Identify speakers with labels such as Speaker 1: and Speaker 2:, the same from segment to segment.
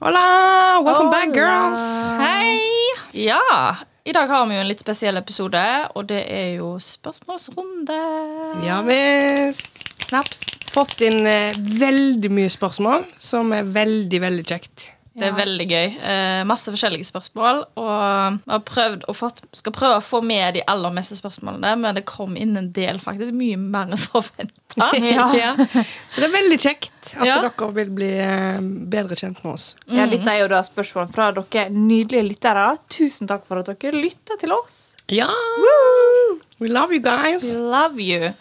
Speaker 1: Hola! Welcome back, girls!
Speaker 2: Hei! Ja, i dag har vi jo en litt spesiell episode, og det er jo spørsmålsrunde.
Speaker 1: Ja visst.
Speaker 2: Knaps.
Speaker 1: Fått inn eh, veldig mye spørsmål, som er veldig, veldig kjekt.
Speaker 2: Det er veldig gøy. Eh, masse forskjellige spørsmål. Og vi har prøvd å fått, skal prøve å få med de aller meste spørsmålene, men det kom inn en del, faktisk. Mye mer enn forventa.
Speaker 1: Ja. Så det er veldig kjekt at
Speaker 2: Ja.
Speaker 1: dere vil bli eh, bedre kjent med oss.
Speaker 3: Ja, dette er jo da spørsmål fra dere nydelige lyttere. Tusen takk for at dere lytter til oss.
Speaker 1: Ja! We love you guys.
Speaker 2: Love you.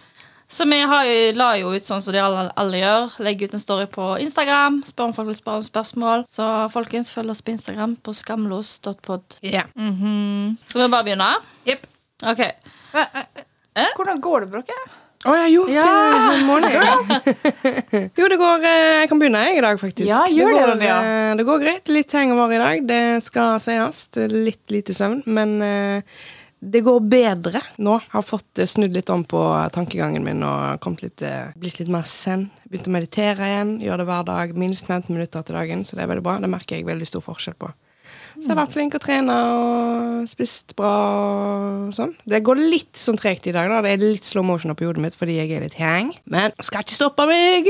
Speaker 2: Så vi har jo, la jo ut sånn som de alle, alle gjør. Legger ut en story på Instagram. Spør om folk vil spørre om spørsmål. Så folkens, følg oss på Instagram på skamlos.pod.
Speaker 1: Ja.
Speaker 2: Skal vi bare begynne?
Speaker 1: Jepp.
Speaker 2: Ok.
Speaker 3: Hvordan går det med dere?
Speaker 1: Å ja, jo.
Speaker 2: Ja.
Speaker 1: Det er en måned. jo, det går eh, Jeg kan begynne, jeg, i dag, faktisk.
Speaker 3: Ja, gjør det,
Speaker 1: går,
Speaker 3: Ronja.
Speaker 1: eh, det går greit. Litt hangover i dag, det skal sies. Det er Litt lite søvn. Men eh, det går bedre nå. Har fått eh, snudd litt om på tankegangen min og kommet litt, eh, blitt litt mer zen. Begynt å meditere igjen. Gjør det hver dag. Minst 15 minutter til dagen, så det er veldig bra. Det merker jeg veldig stor forskjell på. Så jeg har vært flink og trene og spist bra og sånn. Det går litt sånn tregt i dag, da. Det er litt slow motion oppi hodet mitt fordi jeg er litt hang. Men skal ikke stoppe meg!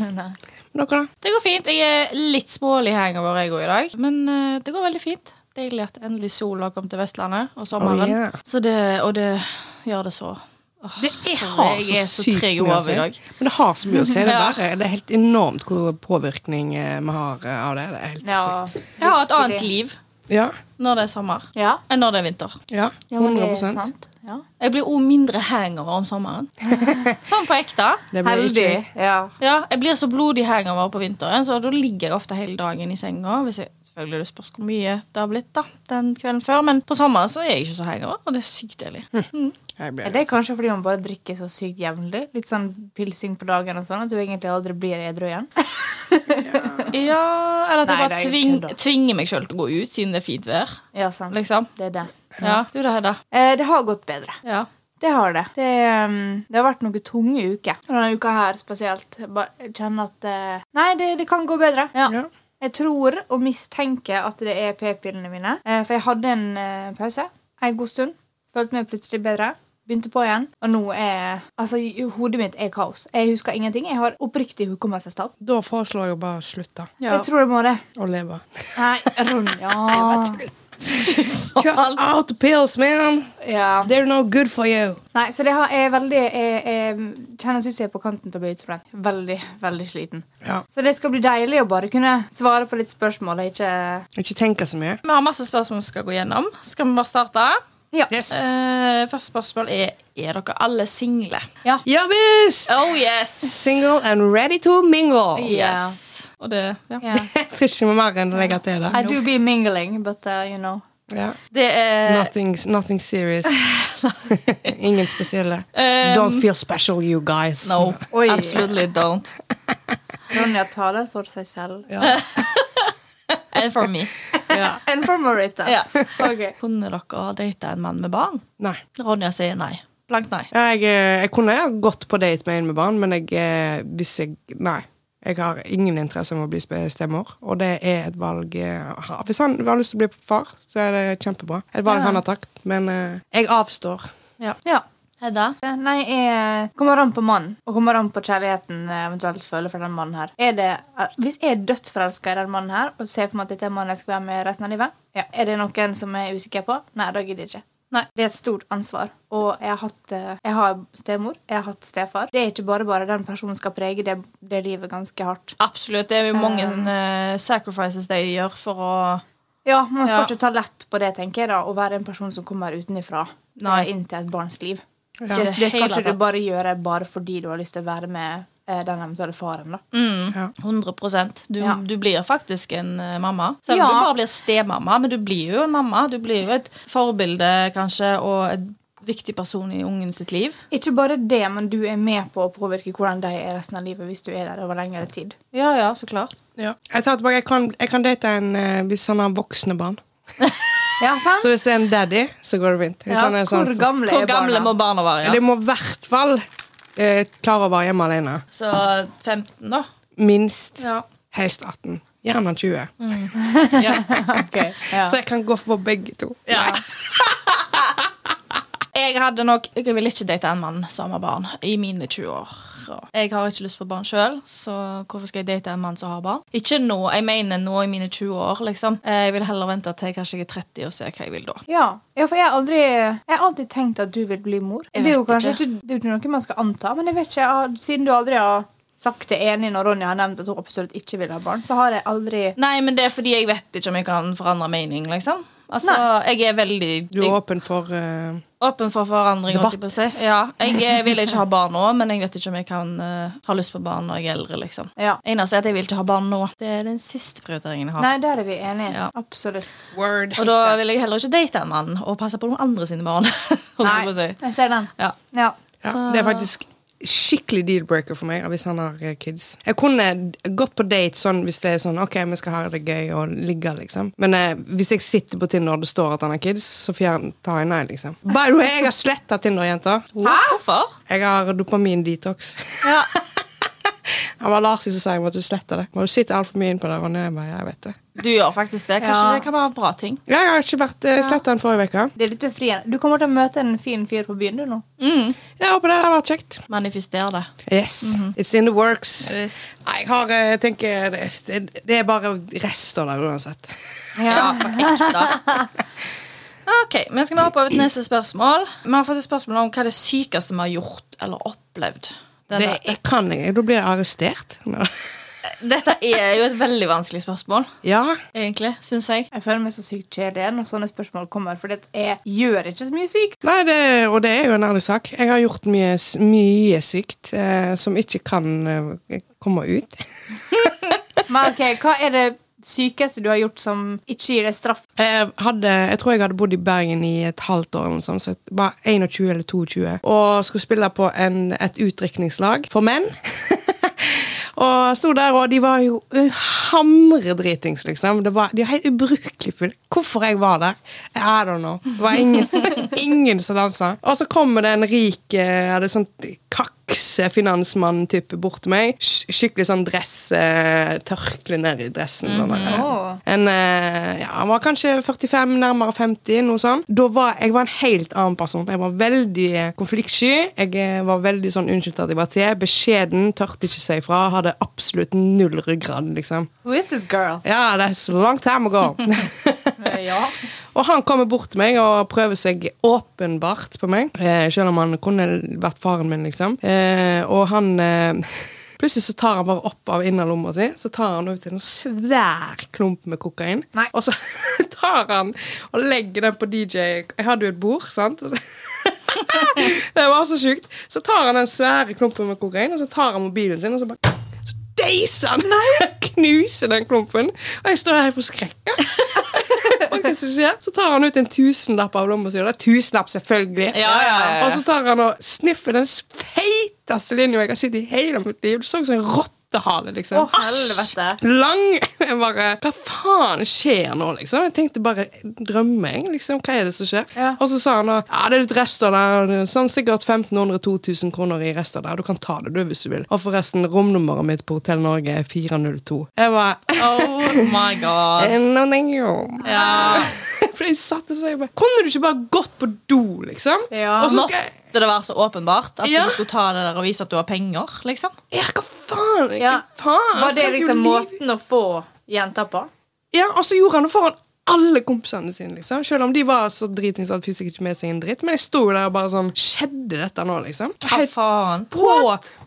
Speaker 1: Dere, da?
Speaker 2: Det går fint. Jeg er litt smålig hangover jeg òg i dag, men eh, det går veldig fint. Deilig at endelig sola kom til Vestlandet og sommeren.
Speaker 1: Oh, yeah.
Speaker 2: så det, og det gjør det så. Åh,
Speaker 1: Det er,
Speaker 2: Ah, så
Speaker 1: har
Speaker 2: jeg
Speaker 1: så,
Speaker 2: er så
Speaker 1: sykt
Speaker 2: treg i
Speaker 1: mye å
Speaker 2: hodet
Speaker 1: si.
Speaker 2: i dag.
Speaker 1: Men det har så mye å si. Det er,
Speaker 2: Ja.
Speaker 1: bare, det er helt enormt hvor påvirkning eh, vi har eh, av det. Det er helt sykt.
Speaker 2: Jeg har et annet liv
Speaker 1: Ja.
Speaker 2: når det er sommer,
Speaker 3: Ja.
Speaker 2: enn når det er vinter.
Speaker 1: Ja,
Speaker 3: ja men det
Speaker 1: 100
Speaker 3: er sant. Ja.
Speaker 2: Jeg blir òg mindre hangover om sommeren. Sånn på ekte.
Speaker 1: Det blir
Speaker 3: Heldig.
Speaker 1: ikke-
Speaker 3: Ja.
Speaker 2: Ja, jeg blir så blodig hangover på vinteren, så da ligger jeg ofte hele dagen i senga. Hvis jeg, selvfølgelig det spørs hvor mye det har blitt da, den kvelden før, men på sommeren så er jeg ikke så hangover, og det er sykt deilig.
Speaker 1: Jeg blir-
Speaker 3: Er det kanskje fordi man bare drikker så sykt jevnlig? Litt sånn pilsing på dagen og sånn, at du egentlig aldri blir edru igjen?
Speaker 2: Ja, eller at
Speaker 3: Nei,
Speaker 2: jeg
Speaker 3: det
Speaker 2: bare
Speaker 3: er jo
Speaker 2: tving,
Speaker 3: kødd, da.
Speaker 2: tvinger meg sjøl til å gå ut, siden det er fint vær.
Speaker 3: Ja, sant.
Speaker 2: Liksom.
Speaker 3: Det er det.
Speaker 2: Ja, du da, Hedda.
Speaker 3: Eh, det har gått bedre.
Speaker 2: Ja.
Speaker 3: Det har det. Det, um, det har vært noen tunge uker. Og Denne uka her spesielt. Jeg bare- jeg kjenner at eh, Nei, det, det kan gå bedre. Ja.
Speaker 1: Ja.
Speaker 3: Jeg tror og mistenker at det er p-pillene mine. Eh, for jeg hadde en eh, pause en god stund. Følte meg plutselig bedre. Begynte på igjen. Og nå er Altså, i- hodet mitt er kaos. Jeg husker ingenting. Jeg har oppriktig hukommelsestap.
Speaker 1: Da foreslår jeg bare å slutte
Speaker 2: ja.
Speaker 3: Jeg tror jeg må det.
Speaker 1: å leve.
Speaker 3: Nei, Ronja.
Speaker 1: Cut out the pills, man!
Speaker 3: Ja.
Speaker 1: They're no good for you!
Speaker 3: Nei, så det har, jeg er veldig Jeg, jeg kjennes ut som jeg er på kanten til å bli utbrent. Veldig, veldig sliten.
Speaker 1: Ja.
Speaker 3: Så det skal bli deilig å bare kunne svare på litt spørsmål. og Ikke
Speaker 1: Ikke tenke så mye.
Speaker 2: Vi har masse spørsmål vi skal gå gjennom. Skal vi bare starte?
Speaker 3: Ja.
Speaker 1: Yes.
Speaker 2: Eh, første spørsmål er Er dere alle single.
Speaker 3: ja.
Speaker 1: Ja visst!
Speaker 2: Oh yes!
Speaker 1: Single and ready to mingle.
Speaker 2: Yes. Og det ja.
Speaker 3: ja.
Speaker 1: Jeg tror ikke vi mer enn å legge til det.
Speaker 3: I do be mingling, but uh, you know.
Speaker 1: Ja.
Speaker 2: Det
Speaker 3: Eh,
Speaker 2: er
Speaker 1: Nothing, nothing serious. Ingen spesielle.
Speaker 2: Eh,
Speaker 1: Don't feel special, you guys.
Speaker 2: No.
Speaker 3: Oi.
Speaker 2: Absolutely don't.
Speaker 3: Ronja taler for seg selv.
Speaker 1: Ja.
Speaker 2: And for me.
Speaker 1: Ja.
Speaker 3: And for Marita.
Speaker 2: Ja.
Speaker 3: Ok.
Speaker 2: Kunne dere date en mann med barn?
Speaker 1: Nei.
Speaker 2: Ronja sier nei. Blankt nei.
Speaker 1: Jeg, eh, jeg kunne ha gått på date med en med barn, men jeg, eh, hvis jeg Nei. Jeg har ingen interesse av å bli spe- stemor, og det er et valg eh, ha- Hvis han har lyst til å bli far, så er det kjempebra. Et valg han har tatt, men eh, jeg avstår.
Speaker 3: Ja. Eh,
Speaker 2: Hedda?
Speaker 3: Nei, jeg kommer an på mannen, og kommer an på kjærligheten jeg eventuelt føler for den mannen her. Er det, eh, hvis jeg er dødsforelska i den mannen her, og ser for meg at dette er mannen jeg skal være med resten av livet, ja. er det noen som jeg er usikker på? Nei, da gidder jeg ikke.
Speaker 2: Nei.
Speaker 3: Det er et stort ansvar. Og jeg har hatt eh, Jeg har stemor, jeg har hatt stefar. Det er ikke bare bare den personen skal prege det, det livet ganske hardt.
Speaker 2: Absolutt. Det er jo mange sånne eh, sacrifices de gjør for å
Speaker 3: Ja, Man skal
Speaker 2: Ja.
Speaker 3: ikke ta lett på det, tenker jeg, da, å være en person som kommer utenfra
Speaker 2: Nei.
Speaker 3: eh, inn til et barns liv.
Speaker 1: Ja.
Speaker 3: Det, det
Speaker 2: Hele
Speaker 3: skal ikke
Speaker 2: tatt.
Speaker 3: du bare gjøre bare fordi du har lyst til å være med eh, den eventuelle faren. da.
Speaker 1: Ja.
Speaker 2: 100 du,
Speaker 3: Ja.
Speaker 2: du blir faktisk en eh, mamma. Selv om
Speaker 3: Ja.
Speaker 2: du bare blir stemamma, men du blir jo en mamma. Du blir jo et forbilde, kanskje, og en viktig person i ungen sitt liv.
Speaker 3: Ikke bare det, men du er med på å påvirke hvordan de er resten av livet hvis du er der over lengre tid.
Speaker 2: Ja, ja, så klart.
Speaker 1: Ja. Jeg tar tilbake, jeg kan, jeg kan date en eh, hvis han har voksne barn.
Speaker 3: Ja, sant?
Speaker 1: Så hvis det er en daddy, så går det fint. Hvis
Speaker 3: Ja,
Speaker 1: han er
Speaker 3: hvor
Speaker 1: sånn,
Speaker 3: gamle
Speaker 2: Hvor
Speaker 3: er
Speaker 2: gamle må barna
Speaker 3: barna?
Speaker 2: være?
Speaker 1: Det
Speaker 2: Ja?
Speaker 1: må i hvert fall eh, klare å være hjemme alene.
Speaker 2: Så 15, da.
Speaker 1: Minst.
Speaker 2: Ja. Mm.
Speaker 1: Helst 18. Gjerne 20.
Speaker 2: Ja.
Speaker 3: Ok, ja.
Speaker 1: Så jeg kan gå for begge to.
Speaker 2: Ja. Jeg hadde nok Jeg ville ikke date en mann som har barn i mine 20 år. Jeg har ikke lyst på barn sjøl, så hvorfor skal jeg date en mann som har barn? Ikke nå, jeg mener nå i mine 20 år, liksom. Eh, Jeg vil heller vente til kanskje jeg er 30 og se hva jeg vil da.
Speaker 3: Ja. ja, for jeg har aldri Jeg har alltid tenkt at du vil bli mor.
Speaker 2: Jeg
Speaker 3: Det er jo
Speaker 2: vet
Speaker 3: kanskje
Speaker 2: ikke.
Speaker 3: ikke, det er jo ikke noe man skal anta, men jeg vet ikke, jeg har, siden du aldri har sagt det enig når Ronja har nevnt at hun absolutt ikke vil ha barn, så har jeg aldri
Speaker 2: Nei, men det er fordi jeg vet ikke om jeg kan forandre mening, liksom. Altså, jeg er veldig
Speaker 1: Du er åpen for eh,
Speaker 2: åpen for forandring.
Speaker 1: Debatt.
Speaker 2: holdt Jeg, på å si. ja, jeg eh, vil ikke ha barn nå, men jeg vet ikke om jeg kan eh, ha lyst på barn når jeg er eldre, liksom.
Speaker 3: Ja.
Speaker 2: Eneste er at jeg vil ikke ha barn nå. Det er den siste prioriteringen jeg har.
Speaker 3: Nei, der er vi enige.
Speaker 2: Ja.
Speaker 3: Absolutt.
Speaker 1: word.
Speaker 2: Og da vil jeg heller ikke date en mann og passe på noen andre sine barn. holdt jeg på å
Speaker 3: Nei,
Speaker 2: si.
Speaker 3: jeg ser den.
Speaker 2: Ja.
Speaker 3: Ja.
Speaker 1: Ja,
Speaker 2: Så-
Speaker 1: det er faktisk skikkelig deal-breaker for meg hvis han har eh, kids. Jeg kunne d- gått på date sånn hvis det er sånn Ok, vi skal ha det gøy og ligge, liksom. Men eh, hvis jeg sitter på Tinder og det står at han har kids, så fjern tar jeg nei, liksom. By the way, jeg har sletta Tinder, jenter.
Speaker 2: Hvorfor?
Speaker 1: Jeg har dopamin-detox.
Speaker 2: Ja.
Speaker 1: Han var Lars i som sa jeg måtte slette det. Men du sitter altfor mye inn på det, og jeg bare, jeg vet det.
Speaker 2: Du gjør faktisk det. Kanskje
Speaker 3: Ja.
Speaker 2: det kan være en bra ting.
Speaker 1: Ja, jeg har ikke vært uh, sletta den forrige uke.
Speaker 3: Det er litt befriende. Du kommer til å møte en fin fyr på byen du nå.
Speaker 2: Mm.
Speaker 1: Jeg håper det har vært kjekt.
Speaker 2: Manifester det.
Speaker 1: Yes, it's in the works.
Speaker 2: Ja,
Speaker 1: Nei, Jeg har, eh, jeg tenker, det, det er bare rester der uansett.
Speaker 2: for ekte. Ok, men Skal vi hoppe over til neste spørsmål? Vi har fått et spørsmål om hva er det sykeste vi har gjort eller opplevd. Det
Speaker 1: Det
Speaker 2: der-
Speaker 1: jeg kan jeg. Da blir jeg arrestert.
Speaker 2: Dette er jo et veldig vanskelig spørsmål,
Speaker 1: Ja.
Speaker 2: egentlig, syns jeg.
Speaker 3: Jeg føler meg så sykt kjedelig når sånne spørsmål kommer, for jeg gjør ikke så mye sykt.
Speaker 1: Nei, det, og det er jo en ærlig sak. Jeg har gjort mye, s- mye sykt eh, som ikke kan eh, komme ut.
Speaker 3: Men ok, hva er det sykeste du har gjort som ikke gir deg straff?
Speaker 1: Jeg, Eh, hadde, jeg tror jeg hadde bodd i Bergen i et halvt år, eller noe sånt, så jeg var 21 eller 22, og skulle spille på en, et utdrikningslag for menn. og sto der, og de var jo eh, hamredritings, liksom. Det var, de var helt ubrukelig fulle. Hvorfor jeg var der, I don't know. Det var ingen, ingen som dansa. Og så kommer det en rik eh, hadde sånn kakse-finansmann-type bort til meg. Sk- Skikkelig sånn dress, eh, tørkle ned i dressen. Mm
Speaker 3: Åh.
Speaker 1: en, eh, ja, han var kanskje 45, nærmere 50, noe sånt. Da var, jeg var en helt annen person. Jeg var veldig eh, konfliktsky. Jeg eh, var veldig sånn unnskyld at jeg var til. Beskjeden, tørte ikke si ifra. Hadde absolutt null ryggrad, liksom.
Speaker 3: Who is this girl?
Speaker 1: Ja, that's a long time ago.
Speaker 3: Ja.
Speaker 1: Og han kommer bort til meg og prøver seg åpenbart på meg. Eh, selv om han kunne vært faren min, liksom. Eh, og han eh, Plutselig så tar han bare opp av innerlomma si Så tar han ut en svær klump med kokain.
Speaker 3: Nei.
Speaker 1: Og så tar han og legger den på DJ Jeg hadde jo et bord, sant? Det var så sjukt. Så tar han den svære klumpen med kokain, og så tar han mobilen sin, og så bare så deiser han! Knuser den klumpen. Og jeg står her helt forskrekka. Og hva som skjer? Så tar han ut en tusenlapp av lomma si. og det er Tusenlapp, selvfølgelig.
Speaker 2: Ja, ja, ja, ja.
Speaker 1: Og så tar han og sniffer den feiteste linja jeg har sett i hele mitt liv. Du så ut som en rottehale, liksom.
Speaker 3: Å, helvete.
Speaker 1: Lang. Jeg bare Hva faen skjer nå, liksom? Jeg tenkte bare Drømmer jeg, liksom? Hva er det som skjer?
Speaker 3: Ja.
Speaker 1: Og så sa han da Ja, det er litt rester der. Sånn sikkert 1500-2000 kroner i rester der. Du kan ta det, du, hvis du vil. Og forresten, romnummeret mitt på Hotell Norge er 402. Jeg bare
Speaker 2: Oh my god.
Speaker 1: No, thank you.
Speaker 2: Ja.
Speaker 1: For jeg satt og sa jeg bare, Kunne du ikke bare gått på do, liksom?
Speaker 3: Ja.
Speaker 1: og så skal jeg,
Speaker 2: Måtte det være så åpenbart at
Speaker 1: Ja.
Speaker 2: du skulle ta det der og vise at du har penger? liksom?
Speaker 1: ja, hva faen? Hva
Speaker 3: Ja.
Speaker 1: faen?
Speaker 3: Var det
Speaker 1: Skal du
Speaker 3: liksom
Speaker 1: li-
Speaker 3: måten å få jenta på?
Speaker 1: Ja, Og så gjorde han det foran alle kompisene sine, liksom. Selv om de var så dritings at de fikk ikke med seg en dritt. Men jeg sto jo der og bare sånn Skjedde dette nå, liksom?
Speaker 2: Hva
Speaker 1: Helt
Speaker 2: faen?
Speaker 1: på,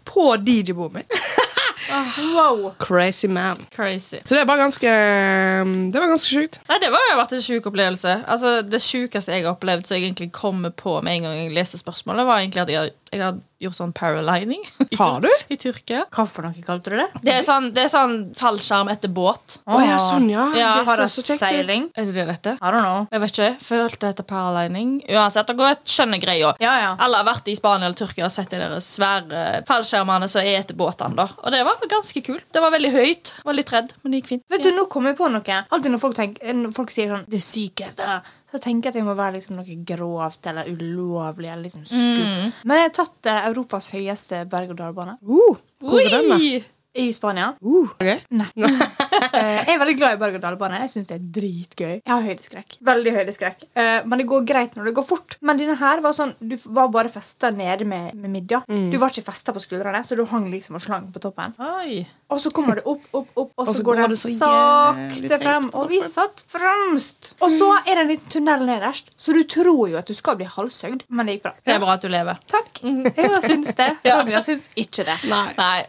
Speaker 1: på DJ-bommen.
Speaker 3: Wow.
Speaker 1: Crazy man.
Speaker 2: Crazy.
Speaker 1: Så det var ganske um, Det var ganske sjukt.
Speaker 2: Nei, Det var jo vært en sjuk opplevelse. Altså, Det sjukeste jeg har opplevd, så jeg egentlig kommer på med en gang jeg leste spørsmålet, var egentlig at jeg har, jeg har gjort sånn paralining. I
Speaker 1: Har
Speaker 2: Tur-
Speaker 1: du?
Speaker 2: I Tyrkia.
Speaker 3: Hva for noe kalte du det?
Speaker 2: Det er sånn, det er sånn fallskjerm etter båt.
Speaker 1: Å ja, sånn, ja.
Speaker 2: Ja,
Speaker 1: det ser
Speaker 3: Har det
Speaker 1: så kjekt ut.
Speaker 3: seiling?
Speaker 2: Er det det dette?
Speaker 3: I don't know.
Speaker 2: Jeg vet ikke. Følte det etter paralining. Uansett, det går et skjønne greia.
Speaker 3: Ja, ja.
Speaker 2: Alle har vært i Spania eller Tyrkia og sett de der svære fallskjermene som er etter båtene. da Og det var ganske kult. Det var veldig høyt. Var litt redd, men det gikk fint.
Speaker 3: Vet du, nå kommer jeg på noe. Alltid når folk, tenker, når folk sier sånn 'det sykeste', så tenker jeg at det må være liksom noe grovt eller ulovlig. Eller liksom
Speaker 1: Mm.
Speaker 3: skummelt. Men jeg har tatt eh, Europas høyeste berg-og-dal-bane
Speaker 1: Uh, hvor
Speaker 2: Oi!
Speaker 1: er den, da?
Speaker 3: i Spania.
Speaker 1: Uh, ok.
Speaker 3: Nei. Eh, jeg er veldig glad i berg-og-dal-bane. Jeg syns det er dritgøy. Jeg har høydeskrekk. Veldig høydeskrekk. Eh, men det går greit når det går fort. Men denne her var sånn, du var bare festa nede med, med midja. Du var ikke festa på skuldrene, så du hang liksom og slang på toppen.
Speaker 2: Oi.
Speaker 3: Og så kommer det opp, opp, opp, og så, går, det
Speaker 1: så jævlig
Speaker 3: sakte
Speaker 1: treigt
Speaker 3: frem.
Speaker 1: på
Speaker 3: Og vi satt fremst! Og så er det en liten tunnel nederst, så du tror jo at du skal bli halshøgd, men det gikk bra.
Speaker 2: Det er bra at du lever.
Speaker 3: Takk. Jeg syns det. Ronja syns ikke det.
Speaker 1: Nei.
Speaker 2: Nei.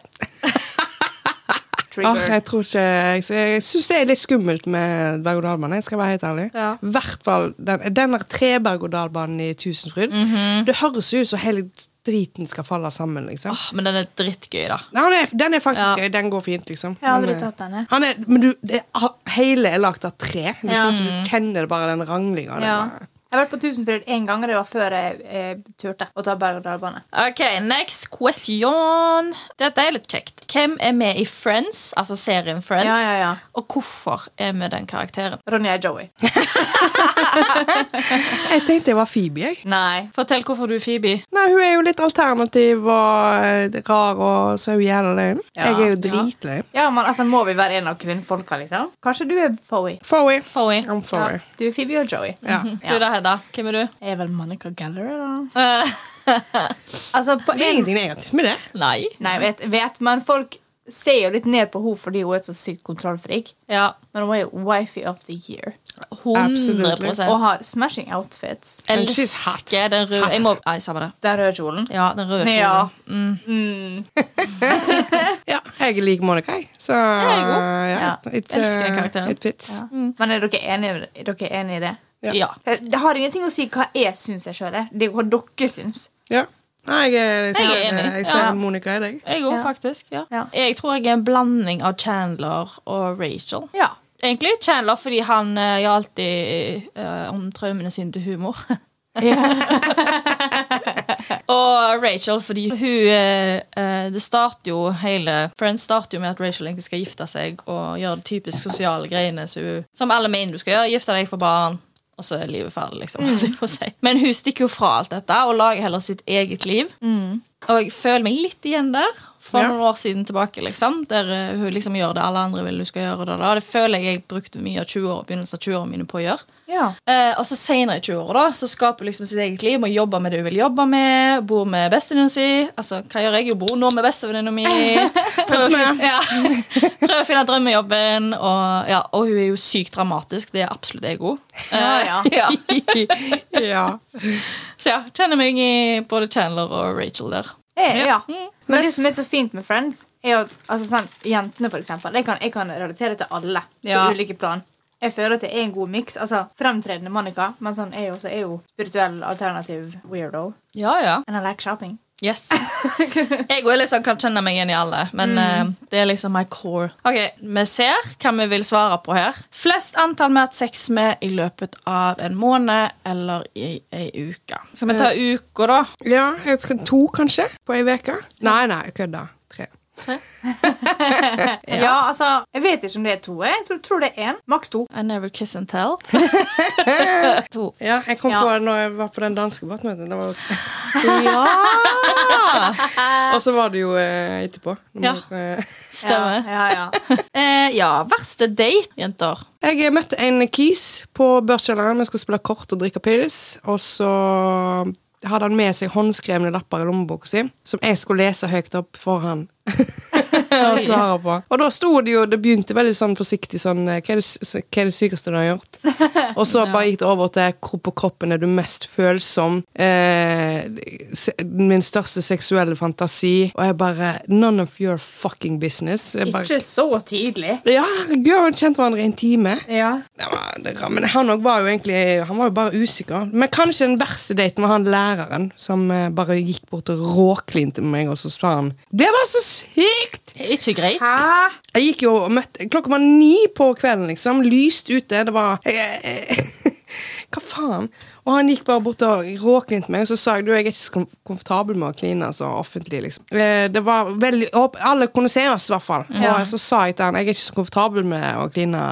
Speaker 1: Ah,
Speaker 3: Trigger.
Speaker 1: jeg tror ikke Jeg, jeg syns det er litt skummelt med berg-og-dal-bane. Jeg skal være helt ærlig.
Speaker 2: Ja.
Speaker 1: I hvert fall den, den der tre-berg-og-dal-banen i Tusenfryd.
Speaker 3: Mhm.
Speaker 1: Det høres jo ut som hele driten skal falle sammen, liksom.
Speaker 3: Ah.
Speaker 2: Åh, men den er drittgøy, da.
Speaker 1: Nei, Den, er, den er faktisk
Speaker 2: Ja.
Speaker 1: gøy. Den går fint, liksom.
Speaker 3: Jeg har
Speaker 1: Men,
Speaker 3: aldri
Speaker 1: eh,
Speaker 3: tatt den, jeg.
Speaker 1: Han er, men du, det, er- ha- hele er lagd av tre. Liksom,
Speaker 3: Ja. Mhm.
Speaker 1: Så du kjenner det bare den ranglinga.
Speaker 3: Ja. Jeg har vært på Tusenfryd én gang, og det var før jeg eh, turte å ta berg-og-dal-bane.
Speaker 2: Ok, Next question. Dette er litt kjekt. Hvem er med i Friends, altså serien Friends?
Speaker 3: Ja, ja, ja.
Speaker 2: Og hvorfor er vi den karakteren?
Speaker 3: Ronja er Joey.
Speaker 1: Jeg tenkte jeg var Phoebe. Jeg.
Speaker 3: Nei.
Speaker 2: Fortell hvorfor du er Phoebe.
Speaker 1: Nei, Hun er jo litt alternativ og eh, rar og saujævla løgn.
Speaker 3: Ja,
Speaker 1: Jeg er jo
Speaker 3: ja.
Speaker 1: dritløgn.
Speaker 3: Ja, men altså, Må vi være en av kvinnfolka, liksom? Kanskje du er Foey.
Speaker 1: Foey.
Speaker 2: Foey.
Speaker 1: I'm
Speaker 3: Ja,
Speaker 1: Foey.
Speaker 3: du er Phoebe og Joey.
Speaker 1: Ja.
Speaker 2: Du da, Hedda. Hvem er du?
Speaker 3: Jeg er vel Monica Gallery, da.
Speaker 2: Eh,
Speaker 3: Altså, på
Speaker 1: Det er
Speaker 3: en...
Speaker 1: ingenting negativt med det.
Speaker 2: nei.
Speaker 3: Nei, vet, vet, men folk ser jo litt ned på henne fordi hun er så sykt kontrollfrik.
Speaker 2: Ja.
Speaker 3: Men hun er jo wifey of the year
Speaker 2: 100
Speaker 3: og har smashing outfits.
Speaker 1: And she's
Speaker 2: Elsker den røde Jeg må Nei, samme det.
Speaker 3: Den røde kjolen.
Speaker 2: Ja, den røde
Speaker 3: Ja.
Speaker 2: kjolen. Mm.
Speaker 3: Mm.
Speaker 1: Ja, jeg liker Monica, jeg. Så
Speaker 2: jeg
Speaker 1: ja,
Speaker 2: òg.
Speaker 3: Ja,
Speaker 1: it,
Speaker 2: elsker den
Speaker 1: uh,
Speaker 2: karakteren.
Speaker 1: It fits.
Speaker 3: Ja. Men er dere enige, er dere enige i det?
Speaker 1: Ja.
Speaker 2: Ja.
Speaker 3: Eh, Det har ingenting å si hva jeg syns jeg sjøl er. Det er hva dere syns.
Speaker 1: Ja. Nei, jeg, er- jeg,
Speaker 2: Jeg er
Speaker 1: ser- eh,
Speaker 2: enig.
Speaker 1: Jeg ser
Speaker 2: Ja.
Speaker 1: Monica i deg.
Speaker 2: Jeg òg,
Speaker 3: Ja.
Speaker 2: faktisk. Ja.
Speaker 3: Ja.
Speaker 2: Jeg tror jeg er en blanding av Chandler og Rachel.
Speaker 3: Ja.
Speaker 2: Egentlig Chandler fordi han eh, gjør alltid eh, om traumene sine til humor. og Rachel fordi hun eh, eh, Det starter jo hele Friends starter jo med at Rachel egentlig skal gifte seg og gjøre de typisk sosiale greiene så hun, som alle mener du skal gjøre. Gifte deg, få barn. Og så er livet ferdig, liksom. holdt jeg på å si. Men hun stikker jo fra alt dette og lager heller sitt eget liv. Og jeg føler meg litt igjen der Fra
Speaker 1: Ja.
Speaker 2: noen år siden tilbake liksom Der eh, hun liksom gjør det alle andre vil du skal gjøre det, da. Det føler jeg jeg brukte mye av 20 år Begynnelsen av 20-årene mine på å gjøre
Speaker 3: Ja.
Speaker 2: Eh, og så senere i 20-åra da, så skaper du liksom sitt eget liv, må jobbe med det du vil jobbe med, bor med bestevenninna si. Altså, hva gjør jeg? Jo, bor nå med bestevenninna mi. Prøver, å- ja. Prøver å finne drømmejobben. Og, ja, og hun er jo sykt dramatisk. Det er absolutt ego. Eh,
Speaker 3: Ja, ja.
Speaker 2: ja.
Speaker 1: ja.
Speaker 2: Så ja, kjenner meg i både Chandler og Rachel der.
Speaker 3: Jeg, ja. Mm. Men det
Speaker 1: Mens-
Speaker 3: som er så fint med Friends, er jo at altså, sånn, jentene, for eksempel. Jeg kan, jeg kan relatere til alle
Speaker 2: Ja.
Speaker 3: på ulike plan. Jeg føler at det er en god miks. Altså, fremtredende Monica, men sånn, jeg også er jo spirituell alternativ weirdo.
Speaker 2: Ja, ja.
Speaker 3: And I like shopping.
Speaker 2: Yes. Jeg òg liksom kan kjenne meg igjen i alle, men eh, det er liksom my core. Ok, Vi ser hva vi vil svare på her. Flest antall vi har hatt sex med i løpet av en måned eller i ei uke. Skal vi ta uka, da?
Speaker 1: ja jeg tror to, kanskje, på ei uke. Nei, nei, jeg kødda. Tre.
Speaker 3: Ja. altså, jeg vet ikke om det er to. Jeg tror, tror det er én. Maks to.
Speaker 2: I never kiss and tell. to.
Speaker 1: Ja, jeg kom
Speaker 3: Ja.
Speaker 1: på det når jeg var på den danske båtmøtet. Det var jo-
Speaker 2: Ja!
Speaker 1: Og så var det jo eh, etterpå. Når
Speaker 2: Ja.
Speaker 1: man- eh,
Speaker 2: Stemmer.
Speaker 3: Ja, ja, ja.
Speaker 2: Eh, ja, verste date, jenter.
Speaker 1: Jeg eh, møtte en kis på børskjelleren. Vi skulle spille kort og drikke pils. Og så hadde han med seg håndskrevne lapper i lommeboka si, som jeg skulle lese høyt opp for han. og
Speaker 2: Altså,
Speaker 1: svare på. Og da sto det jo Det begynte veldig sånn forsiktig sånn eh, Hva er det, sy- hva er det sykeste du har gjort? Og så bare gikk det over til hvor på kroppen er du mest følsom. Eh, se- min største seksuelle fantasi. Og jeg bare None of your fucking business. Jeg bare,
Speaker 3: Ikke så tidlig.
Speaker 1: ja, Gud, vi kjente hverandre i en time.
Speaker 3: Ja.
Speaker 1: Det var, det, var- men han òg var jo egentlig Han var jo bare usikker. Men kanskje den verste daten var han læreren som eh, bare gikk bort og råklinte med meg, og så sa han Det var så sykt!
Speaker 2: Ikke greit.
Speaker 3: Hæ?
Speaker 1: Jeg gikk jo og møtte Klokka var ni på kvelden, liksom. Lyst ute. Det var jeg, jeg, Hva faen? Og han gikk bare bort og råklinte meg, og så sa jeg du, jeg er ikke så kom- komfortabel med å kline altså, offentlig. liksom. Eh, Det var veldig, åp- Alle kunne se oss, i hvert fall. Og så sa jeg til han jeg er ikke så komfortabel med å kline.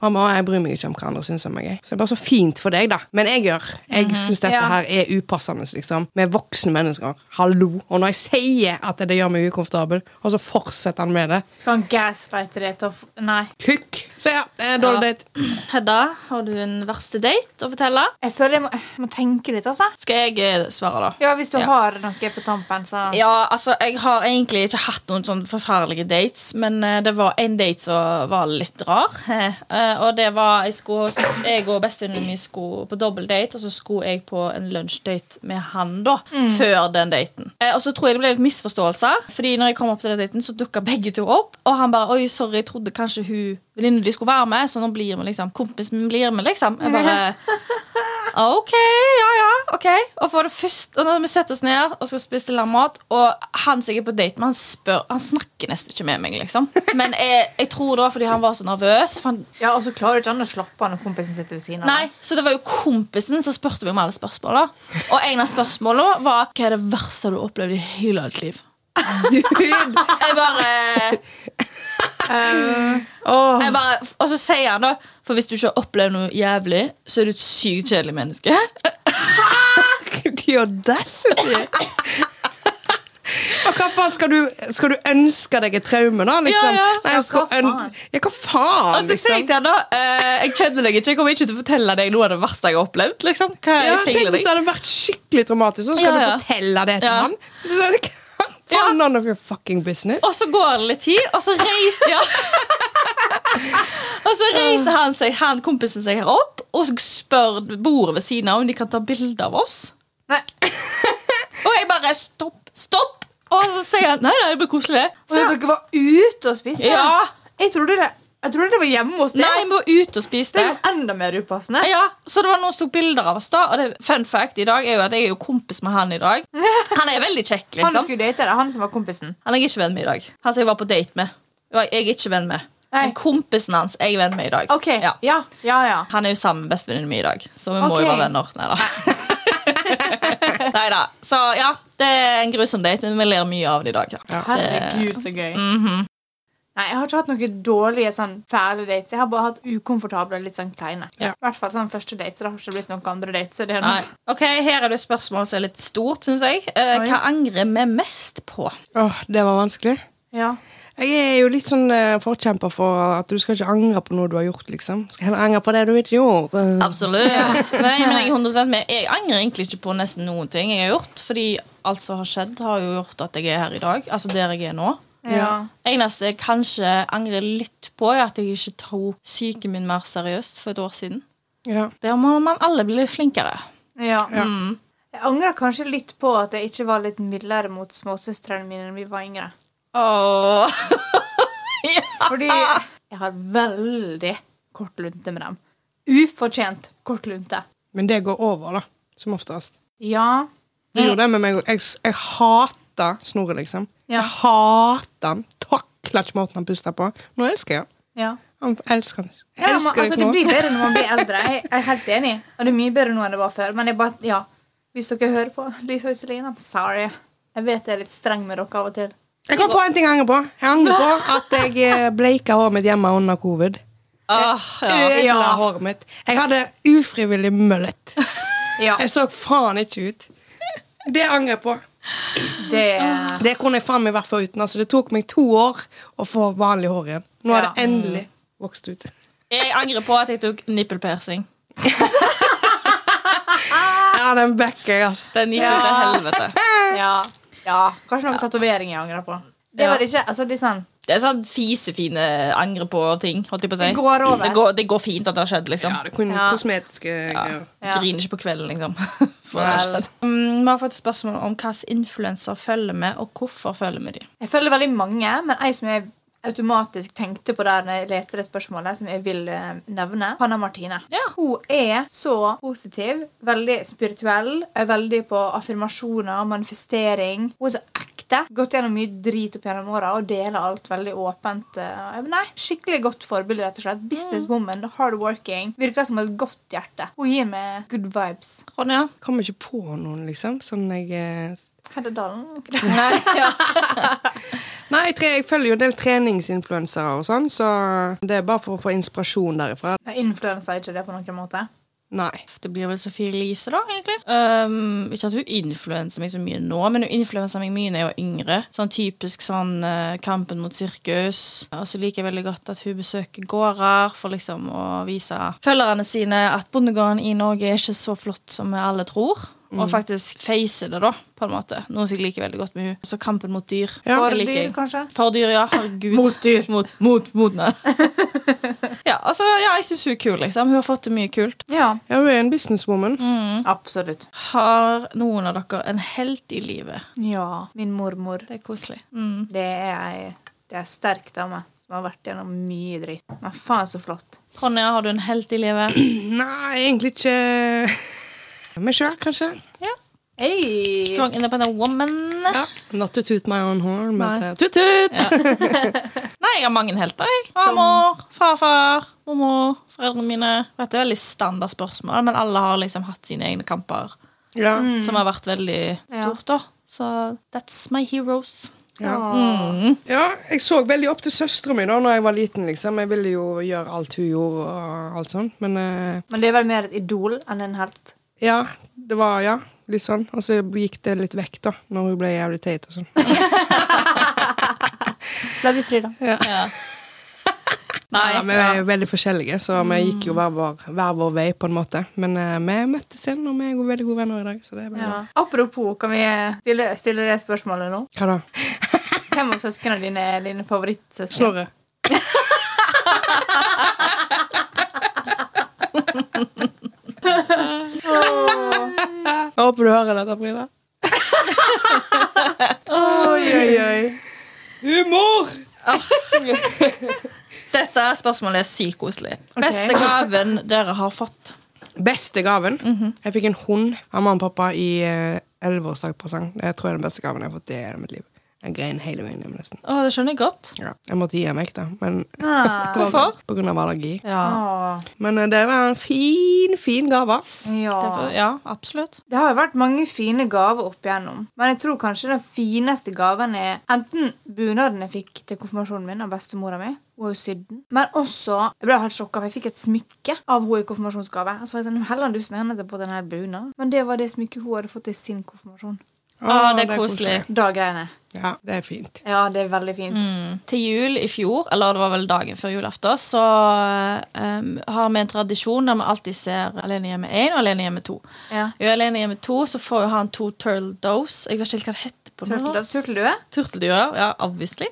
Speaker 1: Han ba, jeg bryr meg ikke om hva andre syns om meg. jeg». Så det er bare så fint for deg, da. Men jeg gjør. Jeg syns dette
Speaker 3: Ja.
Speaker 1: her er upassende, liksom. Vi er voksne mennesker. Hallo. Og når jeg sier at det gjør meg ukomfortabel, og så fortsetter han med det,
Speaker 3: Skal han gaslighte det til å f- Nei.
Speaker 1: kukk. Så ja, eh, dårlig
Speaker 2: Ja.
Speaker 1: date.
Speaker 2: Hedda, har du en verste date å fortelle?
Speaker 3: Jeg føler jeg må, jeg må tenke litt, altså.
Speaker 2: Skal jeg eh, svare, da?
Speaker 3: Ja, hvis du
Speaker 2: Ja.
Speaker 3: har noe på tampen, så
Speaker 2: Ja, altså, jeg har egentlig ikke hatt noen sånn forferdelige dates, men eh, det var en date som var litt rar. eh, eh, og det var Jeg, skulle, jeg og bestevenninnen min skulle på dobbeldate, og så skulle jeg på en lunsjdate med han da, før den daten. Eh, og så tror jeg det ble litt misforståelser, Fordi når jeg kom opp til den daten, så dukka begge to opp, og han bare 'Oi, sorry, jeg trodde kanskje hun venninnen de skulle være med', så nå blir vi liksom Kompisen min blir med, liksom. Jeg bare Ok, ja, ja, ok Og for det første, og når vi setter oss ned og skal spise til mat Og han som jeg er på date med, han, spør, han snakker nesten ikke med meg liksom. Men jeg, jeg tror det var fordi han var så nervøs for han,
Speaker 3: Ja, og så klarer du ikke an å slappe av når kompisen sitter ved siden av.
Speaker 2: Nei, så det var jo kompisen som spurte meg om alle spørsmålene Og en av spørsmålene var Hva er det verste du har opplevd i hele ditt liv?
Speaker 1: Dude!
Speaker 2: Jeg bare eh,
Speaker 1: Åh.
Speaker 2: jeg bare, og så sier han da For hvis du ikke har opplevd noe jævlig Så er du et sykt kjedelig menneske
Speaker 1: The audacity! Og hva faen skal du, skal du ønske deg et traume, da? Liksom?
Speaker 2: Ja, Altså,
Speaker 1: Nei,
Speaker 2: ja.
Speaker 3: Ja,
Speaker 1: skal
Speaker 3: hva faen?
Speaker 1: øn- ja, hva faen? liksom?
Speaker 2: Og så sier jeg til han da eh, Jeg kjenner deg ikke, jeg kommer ikke til å fortelle deg noe av det verste jeg har opplevd. Liksom. Hva er
Speaker 1: Ja,
Speaker 2: jeg
Speaker 1: tenk
Speaker 2: feiler
Speaker 1: hvis det
Speaker 2: deg?
Speaker 1: hadde vært skikkelig traumatisk, så skal
Speaker 2: Ja, ja.
Speaker 1: du fortelle det til
Speaker 2: Ja.
Speaker 1: han? Du sa, Hva
Speaker 2: Ja.
Speaker 1: faen none of your fucking business?
Speaker 2: Og så går det litt tid, og så reiser ja. Og så reiser han seg, han kompisen seg her opp og spør bordet ved siden av om de kan ta bilde av oss.
Speaker 3: Nei.
Speaker 2: Og jeg bare stopp, stopp! Og så sier han nei, nei, det blir koselig. det».
Speaker 3: Og dere var ute og spiste?
Speaker 2: Ja,
Speaker 3: Jeg trodde det, jeg trodde det var hjemme hos deg.
Speaker 2: Nei, vi må ut og spise
Speaker 3: det
Speaker 2: det.
Speaker 3: er jo enda mer upassende.
Speaker 2: Ja, så det var noen som tok bilder av oss da. Og det, fun fact i dag er jo at jeg er jo kompis med han i dag. Han er veldig kjekk, liksom.
Speaker 3: Han du skulle date, det er han som var kompisen.
Speaker 2: Han er jeg ikke venn med i dag. Han som jeg var på date med. Jeg er jeg ikke venn med.
Speaker 3: Nei.
Speaker 2: Men kompisen hans er jeg venn med i dag.
Speaker 3: Ok, ja,
Speaker 2: Ja.
Speaker 3: ja, ja.
Speaker 2: Han er jo sammen med bestevenninnen min i dag, så vi må
Speaker 3: Ok.
Speaker 2: jo være venner. Neida. Neida. Så ja, det er en grusom date, men vi ler mye av det Mhm. i dag. Ja.
Speaker 3: Herregud, så gøy. Nei, Jeg har ikke hatt noen dårlige sånn, fæle dates. Jeg har bare hatt ukomfortable, litt sånn kleine.
Speaker 1: Ja.
Speaker 3: I hvert fall sånn første date, så det har ikke blitt noen andre dates. så Det er noe.
Speaker 2: Nei. Ok, Her er det et spørsmål som er litt stort, syns jeg. Eh,
Speaker 3: Oi.
Speaker 2: hva angrer vi mest på?
Speaker 1: Åh, det var vanskelig.
Speaker 3: Ja.
Speaker 1: Jeg er jo litt sånn eh, forkjemper for at du skal ikke angre på noe du har gjort, liksom. Skal heller angre på det du ikke gjorde.
Speaker 2: Absolutt. Nei, men jeg, er 100% med. jeg angrer egentlig ikke på nesten noen ting jeg har gjort. Fordi alt som har skjedd, har jo gjort at jeg er her i dag. Altså der jeg er nå.
Speaker 3: Ja.
Speaker 2: Eneste jeg kanskje angrer litt på, er at jeg ikke tok psyken min mer seriøst for et år siden.
Speaker 1: Ja.
Speaker 2: Der må man alle bli litt flinkere.
Speaker 3: Ja. Mm. Jeg angrer kanskje litt på at jeg ikke var litt mildere mot småsøstrene mine da vi var yngre.
Speaker 2: Åh.
Speaker 3: Fordi jeg har veldig kort lunte med dem. Ufortjent kort lunte.
Speaker 1: Men det går over, da. Som oftest.
Speaker 3: Ja.
Speaker 1: Det gjorde det med meg òg. Jeg, jeg hater snoret, liksom.
Speaker 3: Ja.
Speaker 1: Jeg hater han. Takler ikke måten han puster på. Nå elsker jeg han.
Speaker 3: ja.
Speaker 1: Han elsker han. Jeg
Speaker 3: Ja, men,
Speaker 1: elsker
Speaker 3: altså,
Speaker 1: deg
Speaker 3: det
Speaker 1: nå.
Speaker 3: blir bedre når man blir eldre. Jeg, jeg er helt enig. Og det er mye bedre nå enn det var før. Men jeg bare, ja, hvis dere hører på, Lisa og Iselin, I'm sorry. Jeg vet jeg er litt streng med dere av og til.
Speaker 1: Jeg kom på en ting jeg angrer på. Jeg angrer på at jeg eh, bleika håret mitt hjemme under covid.
Speaker 2: Åh, ja.
Speaker 1: Ødela
Speaker 3: Ja.
Speaker 1: håret mitt. Jeg hadde ufrivillig møllet.
Speaker 3: Ja,
Speaker 1: Jeg så faen ikke ut. Det angrer jeg på.
Speaker 3: det
Speaker 1: Det kunne jeg faen meg vært foruten. Altså, det tok meg to år å få vanlig hår igjen. Nå har
Speaker 3: Ja.
Speaker 1: det endelig vokst ut.
Speaker 2: Jeg angrer på at jeg tok nippelpiercing.
Speaker 3: Ah.
Speaker 1: Ja, den backer jeg, ass.
Speaker 2: Den gikk jo til helvete.
Speaker 3: Ja. ja. Kanskje noen tatoveringer jeg angrer på. Det
Speaker 2: Ja.
Speaker 3: var det ikke. Altså, det er sånn
Speaker 2: Det er sånn fisefine angre på ting. Holdt jeg på å si.
Speaker 3: Det går over.
Speaker 2: Det går, det går fint at det har skjedd, liksom.
Speaker 1: Ja, det kunne
Speaker 3: Ja.
Speaker 1: kosmetiske greier.
Speaker 3: Ja.
Speaker 2: Griner ikke på kvelden, liksom. For
Speaker 1: Nei.
Speaker 2: resten. Mm, vi har fått et spørsmål om hvilke influenser følger med, og hvorfor følger vi dem.
Speaker 3: Jeg følger veldig mange, men ei som jeg automatisk tenkte på det når jeg leste det spørsmålet, som jeg vil eh, nevne, Hanna Martine.
Speaker 2: Ja.
Speaker 3: Hun er så positiv, veldig spirituell, er veldig på affirmasjoner, manifestering. Hun er så ekte. Gått gjennom mye drit opp gjennom åra og deler alt veldig åpent. eh, Nei, Skikkelig godt forbilde, rett og slett. Businesswoman, hardworking. Virker som et godt hjerte. Hun gir meg good vibes.
Speaker 2: Ronja?
Speaker 1: Kommer ikke på noen, liksom. Sånn jeg eh,
Speaker 3: Hedda Dalen. er ikke det?
Speaker 2: Nei, ja.
Speaker 1: Nei, tre, jeg følger jo en del treningsinfluensere og sånn, så det er bare for å få inspirasjon derifra.
Speaker 3: Nei, Influensa er ikke det på noen måte.
Speaker 1: Nei.
Speaker 2: Det blir vel Sophie Elise, da, egentlig. Ehm, ikke at hun influenser meg så mye nå, men hun influenser meg mye når jeg var yngre. Sånn typisk sånn eh, Kampen mot sirkus. Og så liker jeg veldig godt at hun besøker gårder for liksom å vise følgerne sine at bondegården i Norge er ikke så flott som vi alle tror. Og faktisk face det, da, på en måte. Noe som jeg liker veldig godt med hun Så kampen mot dyr.
Speaker 1: Ja.
Speaker 2: For
Speaker 3: Eller
Speaker 2: det liker
Speaker 3: dyr,
Speaker 2: jeg.
Speaker 3: kanskje?
Speaker 2: For dyr, ja. Herregud.
Speaker 3: Mot dyr.
Speaker 2: Mot, mot, mot, nei. ja, altså, ja, jeg syns hun er kul, liksom. Hun har fått til mye kult.
Speaker 3: Ja,
Speaker 1: Ja, hun er en businesswoman.
Speaker 3: Mm. absolutt.
Speaker 2: Har noen av dere en helt i livet?
Speaker 3: Ja, min mormor.
Speaker 2: Det er koselig. Mm.
Speaker 3: Det er ei det er ei sterk dame som har vært gjennom mye dritt. Men faen, så flott.
Speaker 2: Ronja, har du en helt i livet?
Speaker 1: Nei, egentlig ikke meg sjøl, kanskje.
Speaker 2: Ja.
Speaker 3: Hey.
Speaker 2: Strong independent woman.
Speaker 1: Ja. Not to toot my own horn, men
Speaker 2: Nei.
Speaker 1: eh, tut-tut!
Speaker 2: Nei, jeg har mange helter. jeg. Farmor, farfar, mormor, foreldrene mine. Dette er veldig standard spørsmål, men alle har liksom hatt sine egne kamper.
Speaker 1: Ja.
Speaker 2: Som har vært veldig
Speaker 3: Ja.
Speaker 2: stort, da. Så that's my heroes.
Speaker 1: Ja.
Speaker 3: Åh.
Speaker 1: ja, jeg så veldig opp til søstera mi da når jeg var liten. liksom. Jeg ville jo gjøre alt hun gjorde. og alt sånt. Men eh,
Speaker 3: Men det er vel mer et idol enn en helt.
Speaker 1: ja, det var ja, litt sånn. Og så gikk det litt vekk da, når hun ble jævlig teit og sånn.
Speaker 3: Ble vi fri, da?
Speaker 2: Ja. Nei,
Speaker 1: Ja, vi
Speaker 2: ja.
Speaker 1: er jo veldig forskjellige, så vi
Speaker 3: Mm.
Speaker 1: gikk jo hver vår, hver vår vei, på en måte. Men eh, vi møttes igjen, og vi er jo veldig gode venner i dag. så det er veldig bra.
Speaker 3: Ja. Apropos, kan vi stille, stille det spørsmålet nå?
Speaker 1: Hva da?
Speaker 3: Hvem av søsknene dine er dine favorittsøsken?
Speaker 1: Snorre. Jeg håper du hører dette, Frida.
Speaker 3: Oi, oi, oi.
Speaker 1: Humor!
Speaker 2: Dette spørsmålet er sykt koselig. Beste gaven dere har fått?
Speaker 1: Beste gaven. Jeg fikk en hund av mamma og pappa i eh, 11-årsdagspresang. Det tror jeg er den beste gaven jeg har fått i hele mitt liv. Jeg grein hele veien hjem, nesten.
Speaker 2: Å, det skjønner jeg godt.
Speaker 1: Ja. Jeg måtte gi meg, da. Men
Speaker 3: Ah.
Speaker 2: Hvorfor?
Speaker 1: på grunn av allergi.
Speaker 2: Ja.
Speaker 3: Åh.
Speaker 1: Men eh, det var en fin, fin gave, ass.
Speaker 3: Ja.
Speaker 2: Derfor, ja, absolutt.
Speaker 3: Det har jo vært mange fine gaver opp igjennom, men jeg tror kanskje den fineste gaven er enten bunaden jeg fikk til konfirmasjonen min av bestemora mi. Hun har jo sydd den. Men også Jeg ble helt sjokka, for jeg fikk et smykke av henne i konfirmasjonsgave. Og så var jeg sånn, Helland, du snøren at jeg har fått denne bunaden. Men det var det smykket hun hadde fått i sin konfirmasjon.
Speaker 2: Å, Ah,
Speaker 1: Ah,
Speaker 2: det er koselig.
Speaker 3: Da grein jeg.
Speaker 1: Ja, det er fint.
Speaker 3: Ja, det er veldig fint.
Speaker 2: Til jul i fjor, eller det var vel dagen før julaften, så ehm, har vi en tradisjon der vi alltid ser Alene hjemme 1 og Alene hjemme 2.
Speaker 3: Ja.
Speaker 2: I Alene hjemme 2 så får jo han to turtle does. Jeg vet ikke helt hva det heter på norsk.
Speaker 3: Turtle doves, turteldue?
Speaker 2: Turteldue, ja, obviously.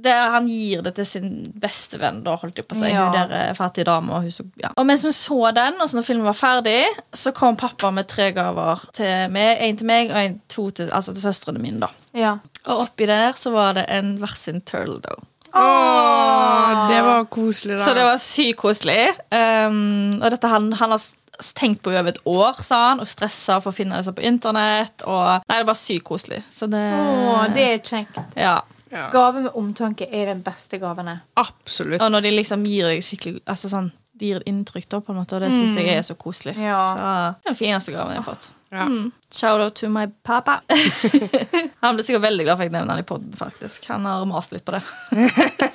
Speaker 2: det, han gir det til sin beste venn, da, holdt jeg på å si.
Speaker 3: Ja.
Speaker 2: Hun der eh, fattige dama. Og, hun så- ja. og mens vi så den, og så når filmen var ferdig, så kom pappa med tre gaver til meg. En til meg og en to til, altså til søstrene mine, da.
Speaker 3: ja.
Speaker 2: Og oppi der så var det en hver sin turtle dough.
Speaker 1: Åh, Ah, det var koselig, da.
Speaker 2: Ah. Så det var sykt koselig. Um, og dette han, han har s- tenkt på i over et år, sa han, og stressa for å finne disse på internett. Og, nei, det var sykt koselig. Så det,
Speaker 3: Å, det er kjekt.
Speaker 2: ja.
Speaker 1: Ja.
Speaker 3: Gave med omtanke er den beste gaven. jeg.
Speaker 1: Absolutt.
Speaker 2: Og når de liksom gir deg skikkelig altså sånn, de gir inntrykk, da, på en måte, og det syns jeg er så koselig.
Speaker 3: Ja.
Speaker 2: Så det er den fineste gaven jeg har fått.
Speaker 1: Ja.
Speaker 2: Mm. Shout out to my papa. han ble sikkert veldig glad for at jeg nevner han i poden, faktisk. Han har mast litt på det.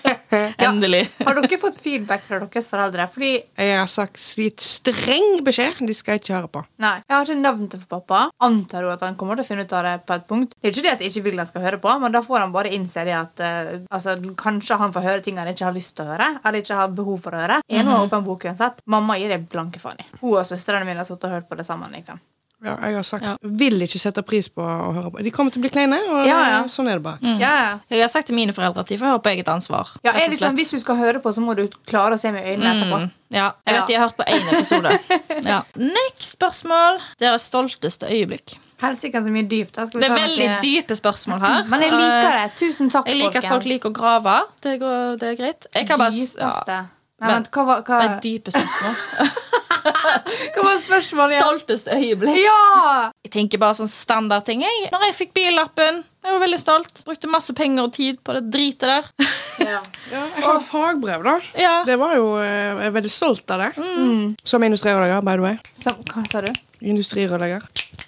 Speaker 2: Endelig.
Speaker 3: Har dere fått feedback fra deres foreldre? Fordi
Speaker 1: Jeg har sagt gitt streng beskjed. De skal ikke høre på.
Speaker 3: Nei, Jeg har ikke nevnt det for pappa. Antar jo at han kommer til å finne ut av det på et punkt. Det er ikke det at jeg ikke vil han skal høre på, men da får han bare innse det at eh, altså, kanskje han får høre ting han ikke har lyst til å høre, eller ikke har behov for å
Speaker 2: Mhm.
Speaker 3: høre. En har åpen bok uansett. Mamma gir det blanke faen i. Hun og søstrene mine har sittet og hørt på det sammen. liksom.
Speaker 1: Ja, jeg har sagt
Speaker 2: Ja.
Speaker 1: Vil ikke sette pris på å høre på. De kommer til å bli kleine, og
Speaker 3: Ja, ja.
Speaker 1: sånn er det
Speaker 2: Mm.
Speaker 1: bare.
Speaker 3: Ja, ja.
Speaker 2: Jeg har sagt til mine foreldre at de får høre på eget ansvar.
Speaker 3: ja
Speaker 2: Mhm. rett
Speaker 3: er
Speaker 2: og
Speaker 3: det sånn,
Speaker 2: slett.
Speaker 3: Hvis du skal høre på, så må du klare å se med øynene etterpå.
Speaker 2: Mm, ja, jeg vet
Speaker 3: Ja.
Speaker 2: de har hørt på én episode. Ja. Next spørsmål. Deres stolteste øyeblikk.
Speaker 3: Helsike så mye dypt. Da skal vi
Speaker 2: Det er
Speaker 3: ta
Speaker 2: veldig
Speaker 3: noe-
Speaker 2: dype spørsmål her. Eh,
Speaker 3: Men jeg liker det. Tusen takk,
Speaker 2: Jeg liker at folk liker å grave. Det, går, det er greit. Jeg kan bare s- ja,
Speaker 3: Dypeste. Nei,
Speaker 2: Men-
Speaker 3: men hva var, hva,
Speaker 2: Det er dype spørsmål.
Speaker 3: hva var spørsmålet? igjen?
Speaker 2: Stolteste øyeblikk.
Speaker 3: Ja!
Speaker 2: Jeg tenker bare sånn standardting. jeg. Når jeg fikk billappen, jeg var veldig stolt. Brukte masse penger og tid på det dritet der.
Speaker 1: Ja, jeg har fagbrev, da.
Speaker 2: Ja.
Speaker 1: Det var jo, eh, Jeg er veldig stolt av det. Mm. Som industrirørlegger, by the way.
Speaker 3: Som, hva sa du?
Speaker 1: Industrirørlegger.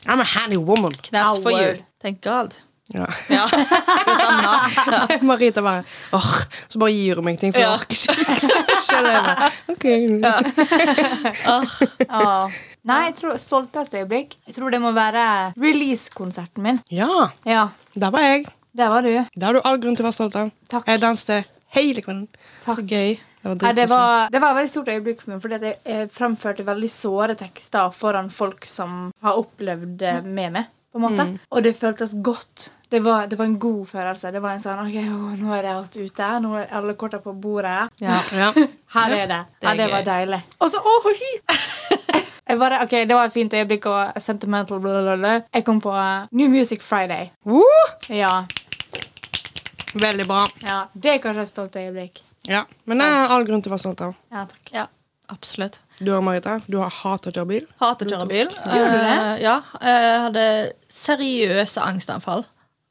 Speaker 1: I'm a handy woman.
Speaker 2: Knaps for
Speaker 3: Our.
Speaker 2: you. Thank God.
Speaker 1: Ja.
Speaker 2: Ja. Susanna.
Speaker 1: Marita bare åh, Så bare gir hun meg ting, for jeg
Speaker 2: Ja.
Speaker 1: orker ikke. Skjønner jeg bare. Ok.
Speaker 3: Ja. Nei, jeg tror stolteste øyeblikk Jeg tror det må være release-konserten min.
Speaker 1: Ja,
Speaker 3: Ja,
Speaker 1: der var jeg.
Speaker 3: der var du.
Speaker 1: Det har du all grunn til å være stolt av.
Speaker 3: Takk.
Speaker 1: Jeg danset hele kvelden.
Speaker 3: Takk.
Speaker 2: Gøy.
Speaker 1: Det var
Speaker 3: Nei, det,
Speaker 1: dritkoselig.
Speaker 3: var, det var et veldig stort øyeblikk for meg, fordi at jeg, jeg framførte veldig såre tekster foran folk som har opplevd det med meg. på en måte. Og det føltes godt. Det var, det var en god følelse. Det var en sånn OK, å, nå er det alt ute. Nå er alle korta på bordet.
Speaker 2: Ja.
Speaker 1: Ja.
Speaker 3: Her er det.
Speaker 2: Det er
Speaker 3: Ja, det var
Speaker 2: gøy.
Speaker 3: deilig. Og så åh, hi! Jeg bare, ok, Det var et fint øyeblikk og sentimental bla, bla, bla. Jeg kom på eh, New Music Friday.
Speaker 1: Woo!
Speaker 3: Ja,
Speaker 1: Veldig bra.
Speaker 3: ja. Det er kanskje et stolt øyeblikk.
Speaker 1: Ja. Men jeg har all grunn til å være stolt av.
Speaker 3: Ja, takk.
Speaker 2: ja. Absolutt.
Speaker 1: Du og Marita, du har hatet å kjøre bil.
Speaker 2: Hater å kjøre bil.
Speaker 3: Gjør du det?
Speaker 2: Eh, ja. Jeg hadde seriøse angstanfall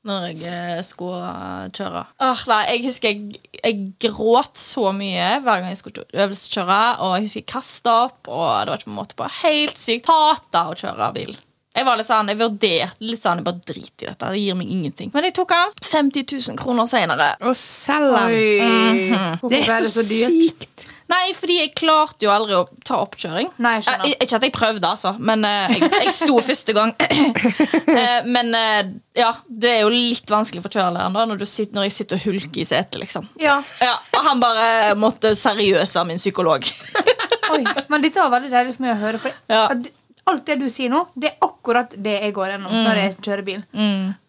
Speaker 2: når jeg eh, skulle eh, kjøre. Åh, nei, jeg husker jeg, jeg gråt så mye hver gang jeg skulle øvelseskjøre. Og jeg husker jeg kasta opp, og det var ikke på en måte på. Helt sykt. Hata å kjøre bil. Jeg var litt sånn, jeg vurderte litt sånn, jeg bare driter i dette. Det gir meg ingenting. Men jeg tok den 50 000 kroner senere.
Speaker 1: Å selge den!
Speaker 3: Hvorfor
Speaker 1: Det
Speaker 3: ble
Speaker 1: er
Speaker 3: det
Speaker 1: så
Speaker 3: så dyrt?
Speaker 1: sykt!
Speaker 2: Nei, fordi jeg klarte jo aldri å ta oppkjøring.
Speaker 3: Nei, jeg skjønner.
Speaker 2: Eh, ikke at jeg prøvde, altså, men eh, jeg, jeg sto første gang. Eh, men eh, ja, det er jo litt vanskelig for kjørelæreren da, når, du sitter, når jeg sitter og hulker i setet, liksom.
Speaker 3: Ja.
Speaker 2: Ja, og han bare måtte seriøst være min psykolog.
Speaker 3: Oi, men dette var veldig deilig for meg å høre. For
Speaker 2: Ja.
Speaker 3: at alt det du sier nå, det er akkurat det jeg går gjennom når jeg kjører bil.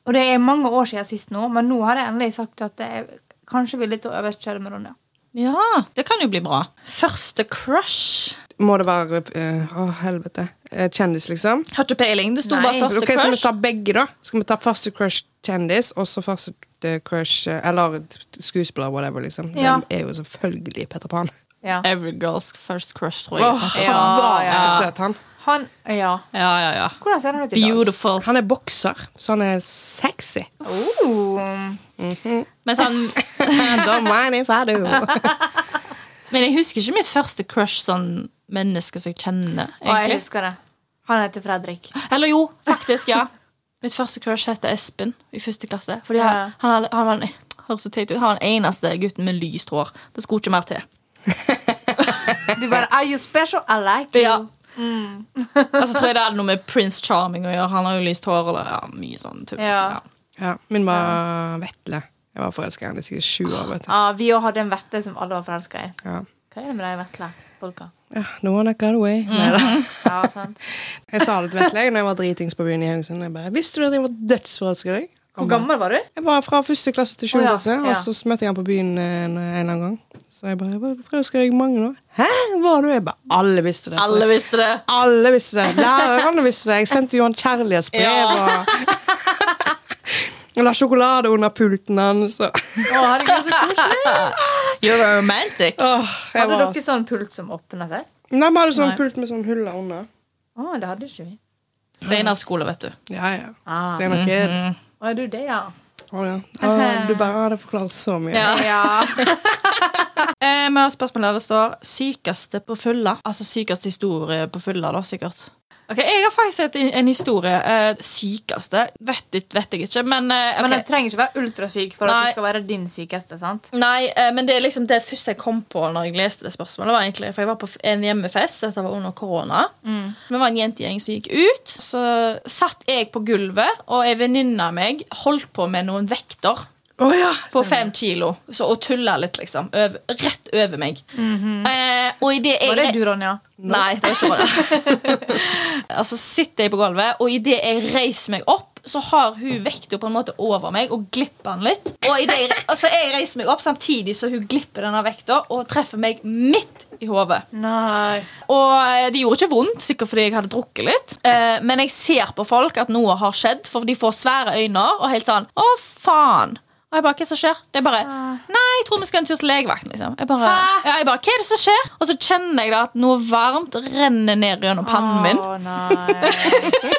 Speaker 3: Og det er mange år siden sist nå, men nå har jeg endelig sagt at jeg kanskje vil litt å øvelseskjøre med Ronja.
Speaker 2: Ja, det kan jo bli bra. Første crush.
Speaker 1: Må det være eh, Å, helvete. Eh, Kjendis, liksom?
Speaker 2: Har ikke peiling. Det sto
Speaker 3: Nei.
Speaker 2: bare første
Speaker 1: Ok, Skal vi
Speaker 2: crush.
Speaker 1: ta begge, da? Skal vi ta første crush kjendis, og så første eh, crush eh, Eller skuespiller, whatever, liksom.
Speaker 3: Ja.
Speaker 1: Den er jo selvfølgelig Peter Pan.
Speaker 3: Ja.
Speaker 2: Every girls first crush, tror jeg.
Speaker 1: Åh, han
Speaker 3: Ja,
Speaker 1: var
Speaker 3: ja.
Speaker 1: så søt, han.
Speaker 3: Han Ja.
Speaker 2: Ja, ja, ja.
Speaker 3: Hvordan ser han ut i dag?
Speaker 2: Beautiful.
Speaker 1: Han er bokser, så han er sexy.
Speaker 3: Oh.
Speaker 2: Men sånn
Speaker 1: Don't mind if I do.
Speaker 2: Men jeg husker ikke mitt første crush sånn menneske som jeg kjenner.
Speaker 3: Og jeg
Speaker 2: egentlig.
Speaker 3: husker det. Han heter Fredrik.
Speaker 2: Eller jo, faktisk, ja. Mitt første crush heter Espen i første klasse. Fordi
Speaker 3: Ja.
Speaker 2: han, han, hadde, han var den høres så teit ut, han var den eneste gutten med lyst hår. Det skulle ikke mer til.
Speaker 3: Du bare Are you special? I like you.
Speaker 2: Ja. altså, tror jeg det hadde noe med Prince Charming å gjøre. Han har jo lyst hår. Eller, ja, mye sånn tull.
Speaker 3: Ja.
Speaker 2: Ja.
Speaker 1: Ja, min var Vetle. Jeg var forelska i henne i sikkert sju år. vet du
Speaker 3: Ah, vi òg hadde en vetle som alle var forelska i.
Speaker 1: ja.
Speaker 3: Hva er det med de vetle-folka?
Speaker 1: Ja, No one that got away.
Speaker 3: Mm.
Speaker 1: Neida.
Speaker 3: Ja, sant.
Speaker 1: Jeg sa det til Vetle jeg, når jeg var dritings på byen i Haugesund. Jeg bare, Visste du at jeg var dødsforelska i deg?
Speaker 3: Hvor gammel var du?
Speaker 1: Jeg var fra første klasse til sjuende
Speaker 3: Å, ja,
Speaker 1: klasse,
Speaker 3: ja.
Speaker 1: og så møtte jeg han på byen eh, en en eller annen gang. Så jeg bare jeg var forelska i deg i mange år. Hæ, var du? Jeg bare, Alle visste det.
Speaker 2: Alle visste det.
Speaker 1: Alle visste det. Lærerne visste det. Jeg sendte jo han kjærlighetsbrev
Speaker 2: Ja.
Speaker 1: og Og la sjokolade under pulten hans. og-
Speaker 3: Å, herregud, så koselig.
Speaker 2: You're a romantic.
Speaker 1: Åh, jeg
Speaker 3: Hadde
Speaker 1: var...
Speaker 3: dere sånn pult som åpna seg?
Speaker 1: Nei, vi hadde sånn
Speaker 2: Nei.
Speaker 1: pult med sånn huller under.
Speaker 3: Å, det hadde ikke vi.
Speaker 2: Reinerskole, vet du.
Speaker 1: Ja, ja.
Speaker 3: Ah.
Speaker 1: Steinar Kid.
Speaker 3: Å, er du det, ja?
Speaker 1: Å, ja. Å, du bare ah, Det forklarer så mye.
Speaker 2: Ja.
Speaker 3: Ja.
Speaker 2: Eh, vi har spørsmål der det står 'sykeste på fylla'. Altså sykeste historie på fylla, da, sikkert. Ok, Jeg har faktisk hatt en historie. Eh, sykeste vet, ikke- vet jeg ikke, men, eh, ok.
Speaker 3: Men den trenger ikke være ultrasyk for
Speaker 2: Nei.
Speaker 3: at du skal være din sykeste. sant?
Speaker 2: Nei, eh, men det er liksom det første jeg kom på når jeg leste det spørsmålet. var egentlig, For jeg var på f- en hjemmefest. Dette var under korona. Vi var en jentegjeng som gikk ut. Så satt jeg på gulvet, og ei venninne av meg holdt på med noen vekter.
Speaker 1: Å ja!
Speaker 2: på fem kilo så, og tulla litt, liksom. Over, rett over meg. eh, og i det jeg
Speaker 3: Var det du, Ronja?
Speaker 2: Nei, det var ikke det. altså sitter jeg på gulvet, og idet jeg reiser meg opp, så har hun vekta på en måte over meg og glipper den litt. Og i det jeg, altså, jeg reiser meg opp samtidig så hun glipper denne vekta og treffer meg midt i hodet.
Speaker 3: Nei.
Speaker 2: Og eh, det gjorde ikke vondt, sikkert fordi jeg hadde drukket litt. Eh, men jeg ser på folk at noe har skjedd, for de får svære øyne og helt sånn Å, faen. Og jeg bare, hva som skjer? Det er bare Nei, jeg tror vi skal en tur til legevakten. liksom jeg bare,
Speaker 3: Ah. Hæ?
Speaker 2: ja, jeg bare, Hva er det som skjer? Og så kjenner jeg da at noe varmt renner ned gjennom pannen min.
Speaker 3: Å, nei.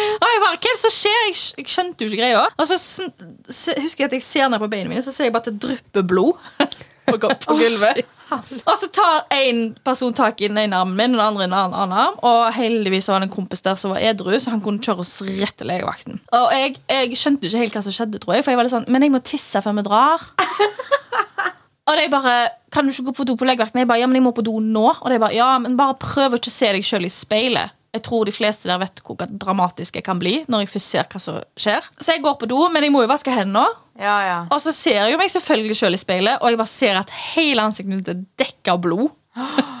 Speaker 2: Og jeg bare, hva er det som skjer? Jeg, skj- jeg skjønte jo ikke greia. Og så sn- se- husker jeg at jeg ser ned på beina mine, så ser jeg bare at det drypper blod på, gu- på gulvet. Og så tar en person tak i den ene armen min, og den andre i den andre annen arm. Og heldigvis var det en kompis der som var edru, så han kunne kjøre oss rett til legevakten. Og jeg, jeg skjønte jo ikke helt hva som skjedde, tror jeg, for jeg var litt sånn Men jeg må tisse før vi drar. Og de bare Kan du ikke gå på do på legevakten? Jeg bare, ja, men jeg må på do nå. Og de bare, ja, men bare prøv å ikke se deg sjøl i speilet. Jeg tror de fleste der vet hvor dramatisk jeg kan bli når jeg først ser hva som skjer. Så jeg går på do, men jeg må jo vaske hendene.
Speaker 3: Ja, ja.
Speaker 2: Og så ser jeg jo meg selvfølgelig sjøl i speilet, og jeg bare ser at hele ansiktet mitt er dekka av blod.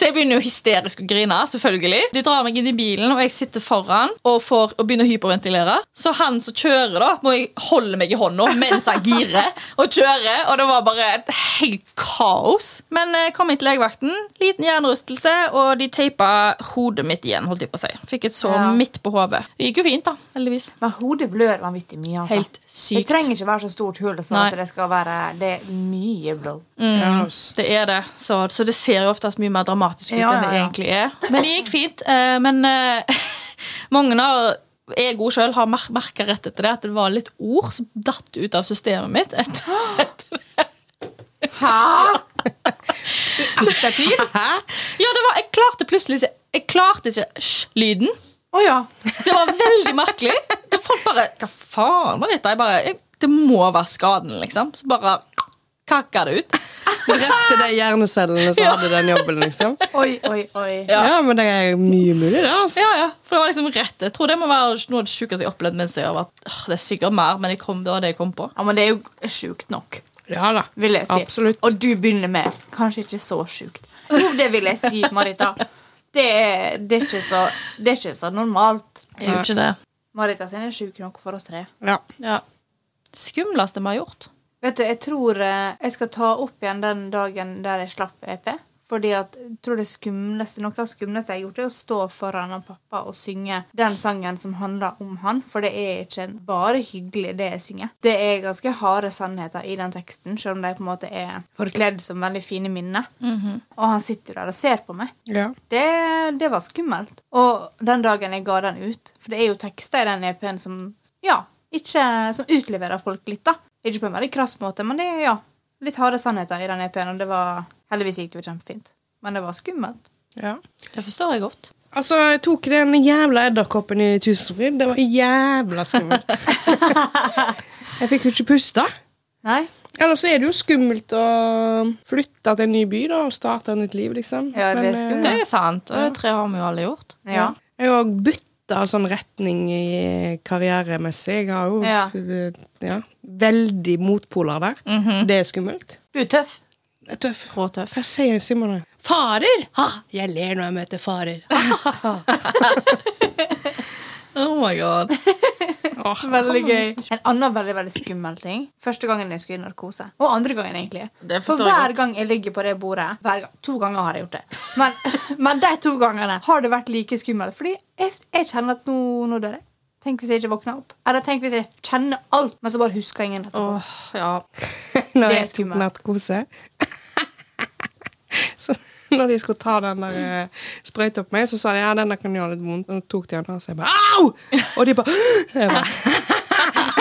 Speaker 2: Så jeg begynner jo hysterisk å grine. selvfølgelig De drar meg inn i bilen, og jeg sitter foran og, får, og begynner å hyperventilere. Så han som kjører, da må jeg holde meg i hånda mens han girer og kjører. Og det var bare et helt kaos. Men jeg kom inn til legevakten, liten hjernerystelse, og de teipa hodet mitt igjen. holdt jeg på å si Fikk et sår
Speaker 3: Ja.
Speaker 2: midt på hodet. Det gikk jo fint, da. Heldigvis.
Speaker 3: Men hodet blør vanvittig mye, altså.
Speaker 2: Helt
Speaker 3: Det
Speaker 2: sykt.
Speaker 3: trenger ikke være så stort hull for
Speaker 2: Nei.
Speaker 3: at det skal være Det er mye blod.
Speaker 1: Ja, ass.
Speaker 2: Det er det, så, så det ser jo oftest mye mer dramatisk ut
Speaker 3: Ja,
Speaker 2: enn det
Speaker 3: ja, ja.
Speaker 2: egentlig er. Men det gikk fint. eh, men eh, mange av jeg òg sjøl har mer merka rett etter det at det var litt ord som datt ut av systemet mitt. etter-
Speaker 3: Hæ? I ettertid? Å
Speaker 2: ja, det var, Jeg klarte plutselig ikke Jeg klarte ikke sj-lyden.
Speaker 3: ja.
Speaker 2: Det var veldig merkelig. Det folk bare Hva faen var dette? Jeg bare, jeg, det må være skaden, liksom. Så bare kakka det ut.
Speaker 1: Rett til de hjernecellene som
Speaker 2: Ja.
Speaker 1: hadde den jobben, liksom.
Speaker 3: Oi, oi, oi.
Speaker 1: Ja, men det er mye mulig, det, altså.
Speaker 2: Ja, ja, for det var liksom rett Jeg tror det må være noe av det sjukeste jeg har opplevd mens jeg har vært Åh, Det er sikkert mer, men jeg kom, det var det jeg kom på.
Speaker 3: Ja, Men det er jo sjukt nok,
Speaker 1: Ja da.
Speaker 3: vil jeg si.
Speaker 1: Absolutt.
Speaker 3: Og du begynner med Kanskje ikke så sjukt. Jo, det vil jeg si, Marita. Det er, det er, ikke, så, det er ikke så normalt.
Speaker 2: Jeg gjorde ikke det.
Speaker 3: Marita sin er sjuk nok for oss tre.
Speaker 1: Ja.
Speaker 2: Ja. Skumleste vi har gjort.
Speaker 3: Vet du, jeg tror eh, jeg skal ta opp igjen den dagen der jeg slapp EP. Fordi at jeg tror det skumleste, Noe av det skumleste jeg har gjort, er å stå foran han pappa og synge den sangen som handler om han. For det er ikke en- bare hyggelig, det jeg synger. Det er ganske harde sannheter i den teksten, selv om de på en måte er forkledd som veldig fine minner. Og han sitter der og ser på meg.
Speaker 1: ja.
Speaker 3: Det, det var skummelt. Og den dagen jeg ga den ut For det er jo tekster i den EP-en som Ja, ikke, som utleverer folk litt, da. Ikke på en veldig krass måte, men det er ja, litt harde sannheter i den EP-en. Og det var Heldigvis gikk det jo kjempefint. Men det var skummelt.
Speaker 1: ja.
Speaker 2: Det forstår jeg godt.
Speaker 1: Altså, jeg tok den jævla edderkoppen i Tusenfryd. Det var jævla skummelt. jeg fikk jo ikke puste.
Speaker 3: Nei?
Speaker 1: Eller så er det jo skummelt å flytte til en ny by da, og starte et nytt liv, liksom.
Speaker 3: Ja, det er
Speaker 1: eh,
Speaker 3: skummelt.
Speaker 2: Det er sant. Og det tre har vi jo alle gjort.
Speaker 3: Ja.
Speaker 1: Jeg har bytta sånn retning i karrieremessig. Jeg har jo
Speaker 3: Ja.
Speaker 1: ja, veldig motpoler der. Det er skummelt.
Speaker 3: Du er tøff.
Speaker 1: Det er tøff.
Speaker 2: Råtøff.
Speaker 1: Hva sier Simon? da? Farer! Ha! Jeg ler når jeg møter farer.
Speaker 2: Oh my god.
Speaker 3: Veldig gøy. En annen veldig veldig skummel ting. Første gangen jeg skulle i narkose. Og andre gangen, egentlig.
Speaker 2: Det forstår
Speaker 3: For
Speaker 2: jeg
Speaker 3: hver
Speaker 2: godt.
Speaker 3: gang jeg ligger på det bordet hver gang, To ganger har jeg gjort det. Men, men de to gangene har det vært like skummelt. Fordi jeg, jeg kjenner at nå, nå dør jeg. Tenk hvis jeg ikke våkner opp. Eller tenk hvis jeg kjenner alt, men så bare husker jeg ingen etterpå.
Speaker 2: Åh, ja.
Speaker 1: Når
Speaker 3: Det er
Speaker 1: jeg tok
Speaker 3: skummelt.
Speaker 1: narkose. så når de skulle ta den der eh, sprøyta på meg, så sa de ja, denne kan gjøre litt vondt. Og tok de den, og så jeg bare au! Og de bare, jeg bare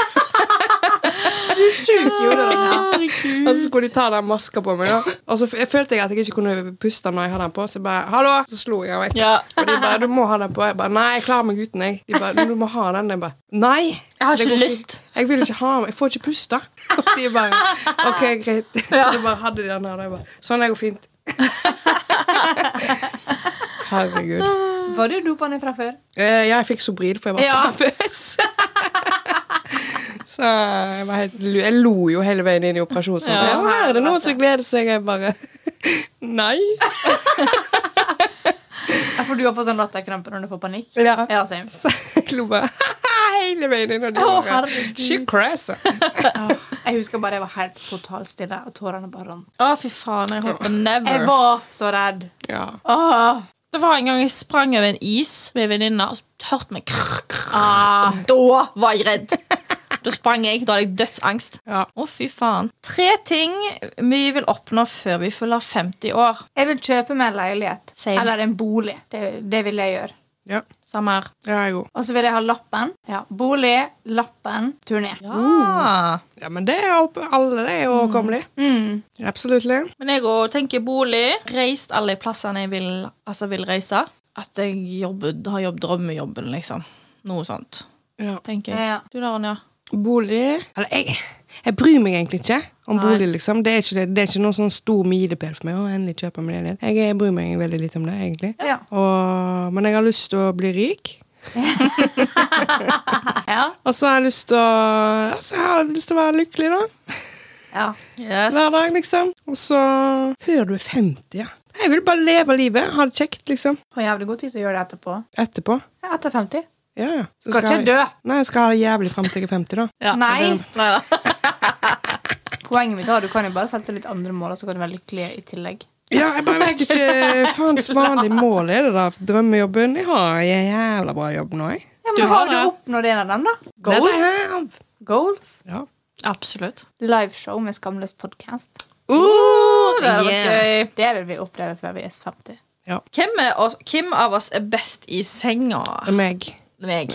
Speaker 3: Du er sjuk i hodet, Ronja.
Speaker 1: Og så skulle de ta den maska på meg, da. Og så f- jeg følte jeg at jeg ikke kunne puste når jeg hadde den på. Så jeg bare 'hallo!' Så slo jeg vekk.
Speaker 2: Ja.
Speaker 1: Og de bare 'du må ha den på'. Jeg bare 'nei, jeg klarer meg uten', jeg. De bare 'du må ha den'. Jeg bare 'nei'.
Speaker 2: Jeg har
Speaker 1: det
Speaker 2: ikke
Speaker 1: går fint.
Speaker 2: lyst.
Speaker 1: Jeg vil ikke ha den. Jeg får ikke puste. Og de bare 'ok, greit'. Så de bare hadde de den der. Og jeg bare 'sånn, det går fint'. Herregud.
Speaker 3: Var du dopa ned fra før?
Speaker 1: Eh, jeg fikk Sobril, for jeg var
Speaker 3: Ja.
Speaker 1: så nervøs. Så jeg, var helt, jeg lo jo hele veien inn i operasjonsrommet.
Speaker 2: Ja.
Speaker 1: Ja, her er det noen som gleder seg. Jeg bare Nei.
Speaker 3: Ja, For du har fått sånn latterkrampe når du får panikk?
Speaker 1: Ja.
Speaker 3: Ja, same.
Speaker 1: Så jeg lo bare hele veien inn. Og de
Speaker 2: Å,
Speaker 1: bare,
Speaker 2: herregud.
Speaker 1: She crazy.
Speaker 3: Ja. Jeg husker bare jeg var helt totalt stille, og tårene bare rant.
Speaker 2: Å, fy faen. Jeg håper never.
Speaker 3: Jeg var så redd.
Speaker 1: Ja.
Speaker 3: Åh.
Speaker 2: Det var en gang jeg sprang over en is med en venninne og så hørte meg krr, krr.
Speaker 3: Ah.
Speaker 2: Da var jeg redd. Da sprang jeg. Da hadde jeg dødsangst.
Speaker 1: Ja.
Speaker 2: Å, fy faen. Tre ting vi vil oppnå før vi fyller 50 år.
Speaker 3: Jeg vil kjøpe meg en leilighet.
Speaker 2: Same.
Speaker 3: Eller en bolig. Det, det vil jeg gjøre.
Speaker 1: Ja,
Speaker 2: Samme her.
Speaker 1: ja jeg òg.
Speaker 3: Og så vil jeg ha lappen. Ja. Bolig, lappen, turné.
Speaker 2: Ah.
Speaker 1: Ja, men det er opp, alle det er jo overkommelig.
Speaker 3: Mm.
Speaker 1: Absolutt.
Speaker 2: Men jeg òg tenker bolig. Reist alle de plassene jeg vil, altså vil reise. At jeg jobber, har jobb drømmejobben, liksom. Noe sånt.
Speaker 1: Ja.
Speaker 2: Tenker jeg.
Speaker 3: Ja.
Speaker 2: Du da, Ronja?
Speaker 1: Bolig Eller jeg, jeg bryr meg egentlig ikke om
Speaker 2: Nei.
Speaker 1: bolig, liksom. Det er ikke, det, det er ikke noen sånn stor milepæl for meg å endelig kjøpe meg leilighet. Jeg, jeg bryr meg veldig lite om det, egentlig.
Speaker 3: Ja.
Speaker 1: Og, men jeg har lyst til å bli rik.
Speaker 3: Ja.
Speaker 1: Og så har jeg lyst til å altså, Jeg har lyst til å være lykkelig, da.
Speaker 3: ja.
Speaker 2: Yes.
Speaker 1: Hver dag, liksom. Og så Før du er 50, ja. Jeg vil bare leve livet. Ha det kjekt, liksom.
Speaker 3: Får jævlig god tid til å gjøre det etterpå.
Speaker 1: Etterpå.
Speaker 3: Ja, Etter 50.
Speaker 1: Ja, ja. Så
Speaker 3: Skal ikke
Speaker 1: jeg-
Speaker 3: dø.
Speaker 1: Nei, jeg skal ha det jævlig frem til jeg er 50, da.
Speaker 2: Ja.
Speaker 3: Nei.
Speaker 2: Neida.
Speaker 3: Poenget mitt var at du kan jo bare sette litt andre mål, og så kan du være lykkelig i tillegg.
Speaker 1: Ja, jeg bare vet ikke Faen, vanlig mål er det da Drømmejobben Jeg har en jævla bra jobb nå, jeg
Speaker 3: Ja,
Speaker 2: Du
Speaker 3: men
Speaker 2: har
Speaker 3: har du
Speaker 2: det.
Speaker 3: oppnådd en av dem, da?
Speaker 1: Dette
Speaker 3: Goals?
Speaker 1: her
Speaker 3: Goals?
Speaker 1: Ja
Speaker 2: Absolutt.
Speaker 3: Liveshow med Skamløs podkast.
Speaker 1: Uh,
Speaker 2: Det hadde vært gøy.
Speaker 3: Det vil vi oppleve før vi er 50.
Speaker 2: Hvem, er oss, hvem av oss er best i senga?
Speaker 1: Det er meg
Speaker 2: Meg.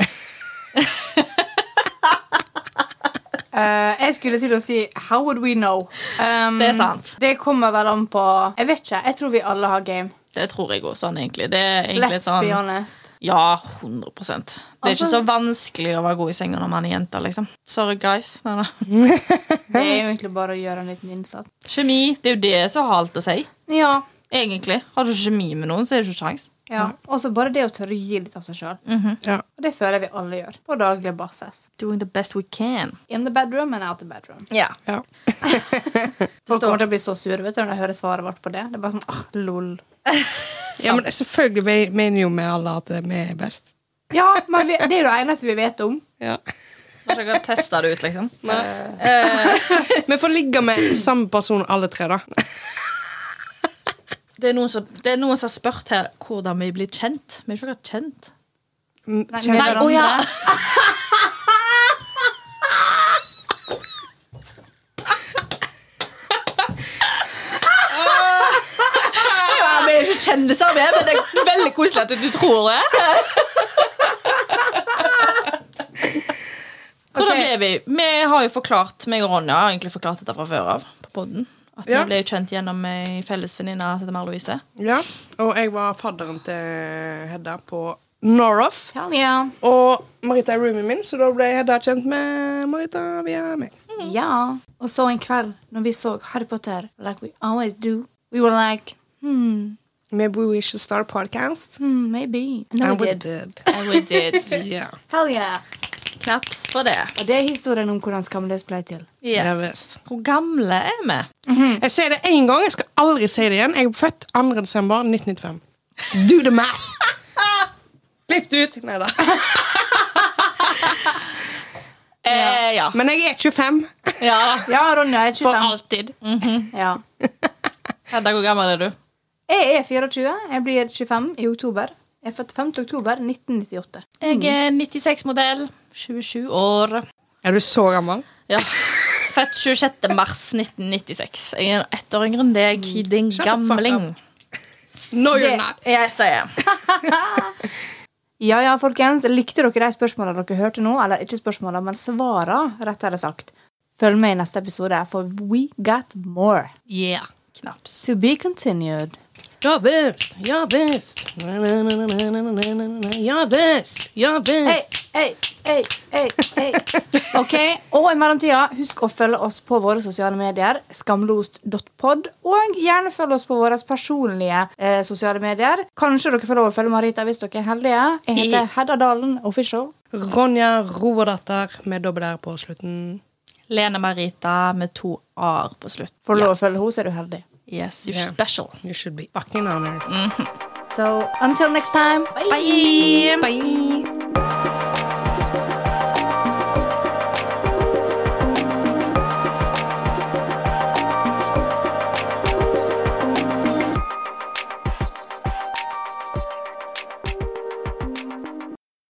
Speaker 3: Eh, jeg skulle til å si 'How would we know?' Um,
Speaker 2: Det er sant.
Speaker 3: Det kommer vel an på Jeg vet ikke. Jeg tror vi alle har game.
Speaker 2: Det tror jeg òg, sånn egentlig. Det er egentlig
Speaker 3: Let's be
Speaker 2: sånn
Speaker 3: honest.
Speaker 2: Ja, 100 Det er ikke
Speaker 3: Altså-
Speaker 2: så vanskelig å være god i senga når man er jente, liksom. Sorry, guys. Nei, nei.
Speaker 3: Det er jo egentlig bare å gjøre en liten innsats.
Speaker 2: Kjemi, det er jo det som har alt å si.
Speaker 3: Ja.
Speaker 2: Egentlig. Har du ikke kjemi med noen, så er det ikke kjangs.
Speaker 3: ja. Og så bare det å tørre å gi litt av seg sjøl.
Speaker 2: Mm.
Speaker 1: Ja
Speaker 3: Og det føler jeg vi alle gjør. På daglig basis.
Speaker 2: Doing the best we can.
Speaker 3: In the bedroom and out the bedroom.
Speaker 2: Ja.
Speaker 1: Ja
Speaker 3: Folk kommer til å bli så sure vet du, når de hører svaret vårt på det. Det er bare sånn, ah, lol.
Speaker 1: Ja, men selvfølgelig ve- mener jo vi alle at vi er best
Speaker 3: Ja, men vi, det er jo det eneste vi vet om.
Speaker 1: Ja
Speaker 2: Når dere tester det ut, liksom.
Speaker 1: Eh. Vi får ligge med samme person alle tre da
Speaker 2: Det er noen som, det er noen som har spurt her hvordan vi blir kjent. Vi er ikke akkurat kjent.
Speaker 1: Mm,
Speaker 3: Nei,
Speaker 1: kjenner-
Speaker 3: med
Speaker 2: Nei, å ja.
Speaker 3: hverandre.
Speaker 2: Ja, vi er ikke kjendiser, vi, men det er veldig koselig at du tror det. Hvordan
Speaker 3: Ok.
Speaker 2: ble vi? Vi har jo forklart, meg og Ronja har egentlig forklart dette fra før av på podden. At
Speaker 1: Ja.
Speaker 2: vi ble jo kjent gjennom ei felles venninne som heter Mary-Louise.
Speaker 1: Ja Og jeg var fadderen til Hedda på Norroff
Speaker 3: Hell yeah.
Speaker 1: Og Marita er roomien min Så da ble Hedda kjent med Marita via meg
Speaker 3: Ja. Og så en kveld, når vi så Harry Potter, like we always do, we were like, hmm,
Speaker 1: Maybe we should start a podcast
Speaker 3: hmm maybe. And then
Speaker 1: And
Speaker 3: we
Speaker 1: we
Speaker 3: did.
Speaker 1: did
Speaker 2: And we did.
Speaker 1: Yeah
Speaker 3: Hell yeah.
Speaker 2: Klaps for det.
Speaker 3: Og det er historien om hvordan Skamløs ble til.
Speaker 2: Yes.
Speaker 1: Ja, visst.
Speaker 2: Hvor gamle er vi?
Speaker 1: Jeg sier det én gang, jeg skal aldri si det igjen. Jeg er født 2. desember 1995. Do the math! Klipp det ut. Nei da.
Speaker 2: Eh, ja.
Speaker 1: Men jeg er 25.
Speaker 2: ja. Mm.
Speaker 3: Ja, Ronja er 25.
Speaker 1: For alltid.
Speaker 3: Ja.
Speaker 2: Hedda, hvor gammel er du?
Speaker 3: Jeg er 24. Jeg blir 25 i oktober. Jeg er født 5. oktober 1998.
Speaker 2: Jeg er 96-modell. 27 år.
Speaker 1: Er du så gammel?
Speaker 2: Ja. Født 26. mars 1996. Jeg er ett år yngre enn deg, din
Speaker 1: Mm. Shut the fuck
Speaker 2: gamling.
Speaker 1: No, you're
Speaker 3: Det-
Speaker 1: not.
Speaker 2: Yes, I am.
Speaker 3: Ja, ja, folkens. Likte dere de spørsmålene dere hørte nå? Eller ikke spørsmålene, men svarene, rettere sagt. Følg med i neste episode, for we got more.
Speaker 1: Yeah.
Speaker 2: Knaps.
Speaker 3: To be continued.
Speaker 1: Ja visst. Ja visst. Na, na, na, na, na, na, na, na, na. Ja visst. Ja
Speaker 3: Hey,
Speaker 1: visst.
Speaker 3: ei, ei, ei, ei. Ok, Og i mellomtida, husk å følge oss på våre sosiale medier, skamlost.pod, og gjerne følg oss på våre personlige eh, sosiale medier. Kanskje dere får lov å følge Marita hvis dere er heldige. Jeg heter Hedda Dalen Official.
Speaker 1: Ronja Roverdatter med dobbel R på slutten.
Speaker 2: Lene Marita med to a-er på slutt.
Speaker 3: Får du lov å følge henne, så er du heldig.
Speaker 2: Yes, you're
Speaker 1: Yeah.
Speaker 2: special.
Speaker 1: You should be fucking honored.
Speaker 3: So until next time.
Speaker 2: Bye!
Speaker 1: Bye.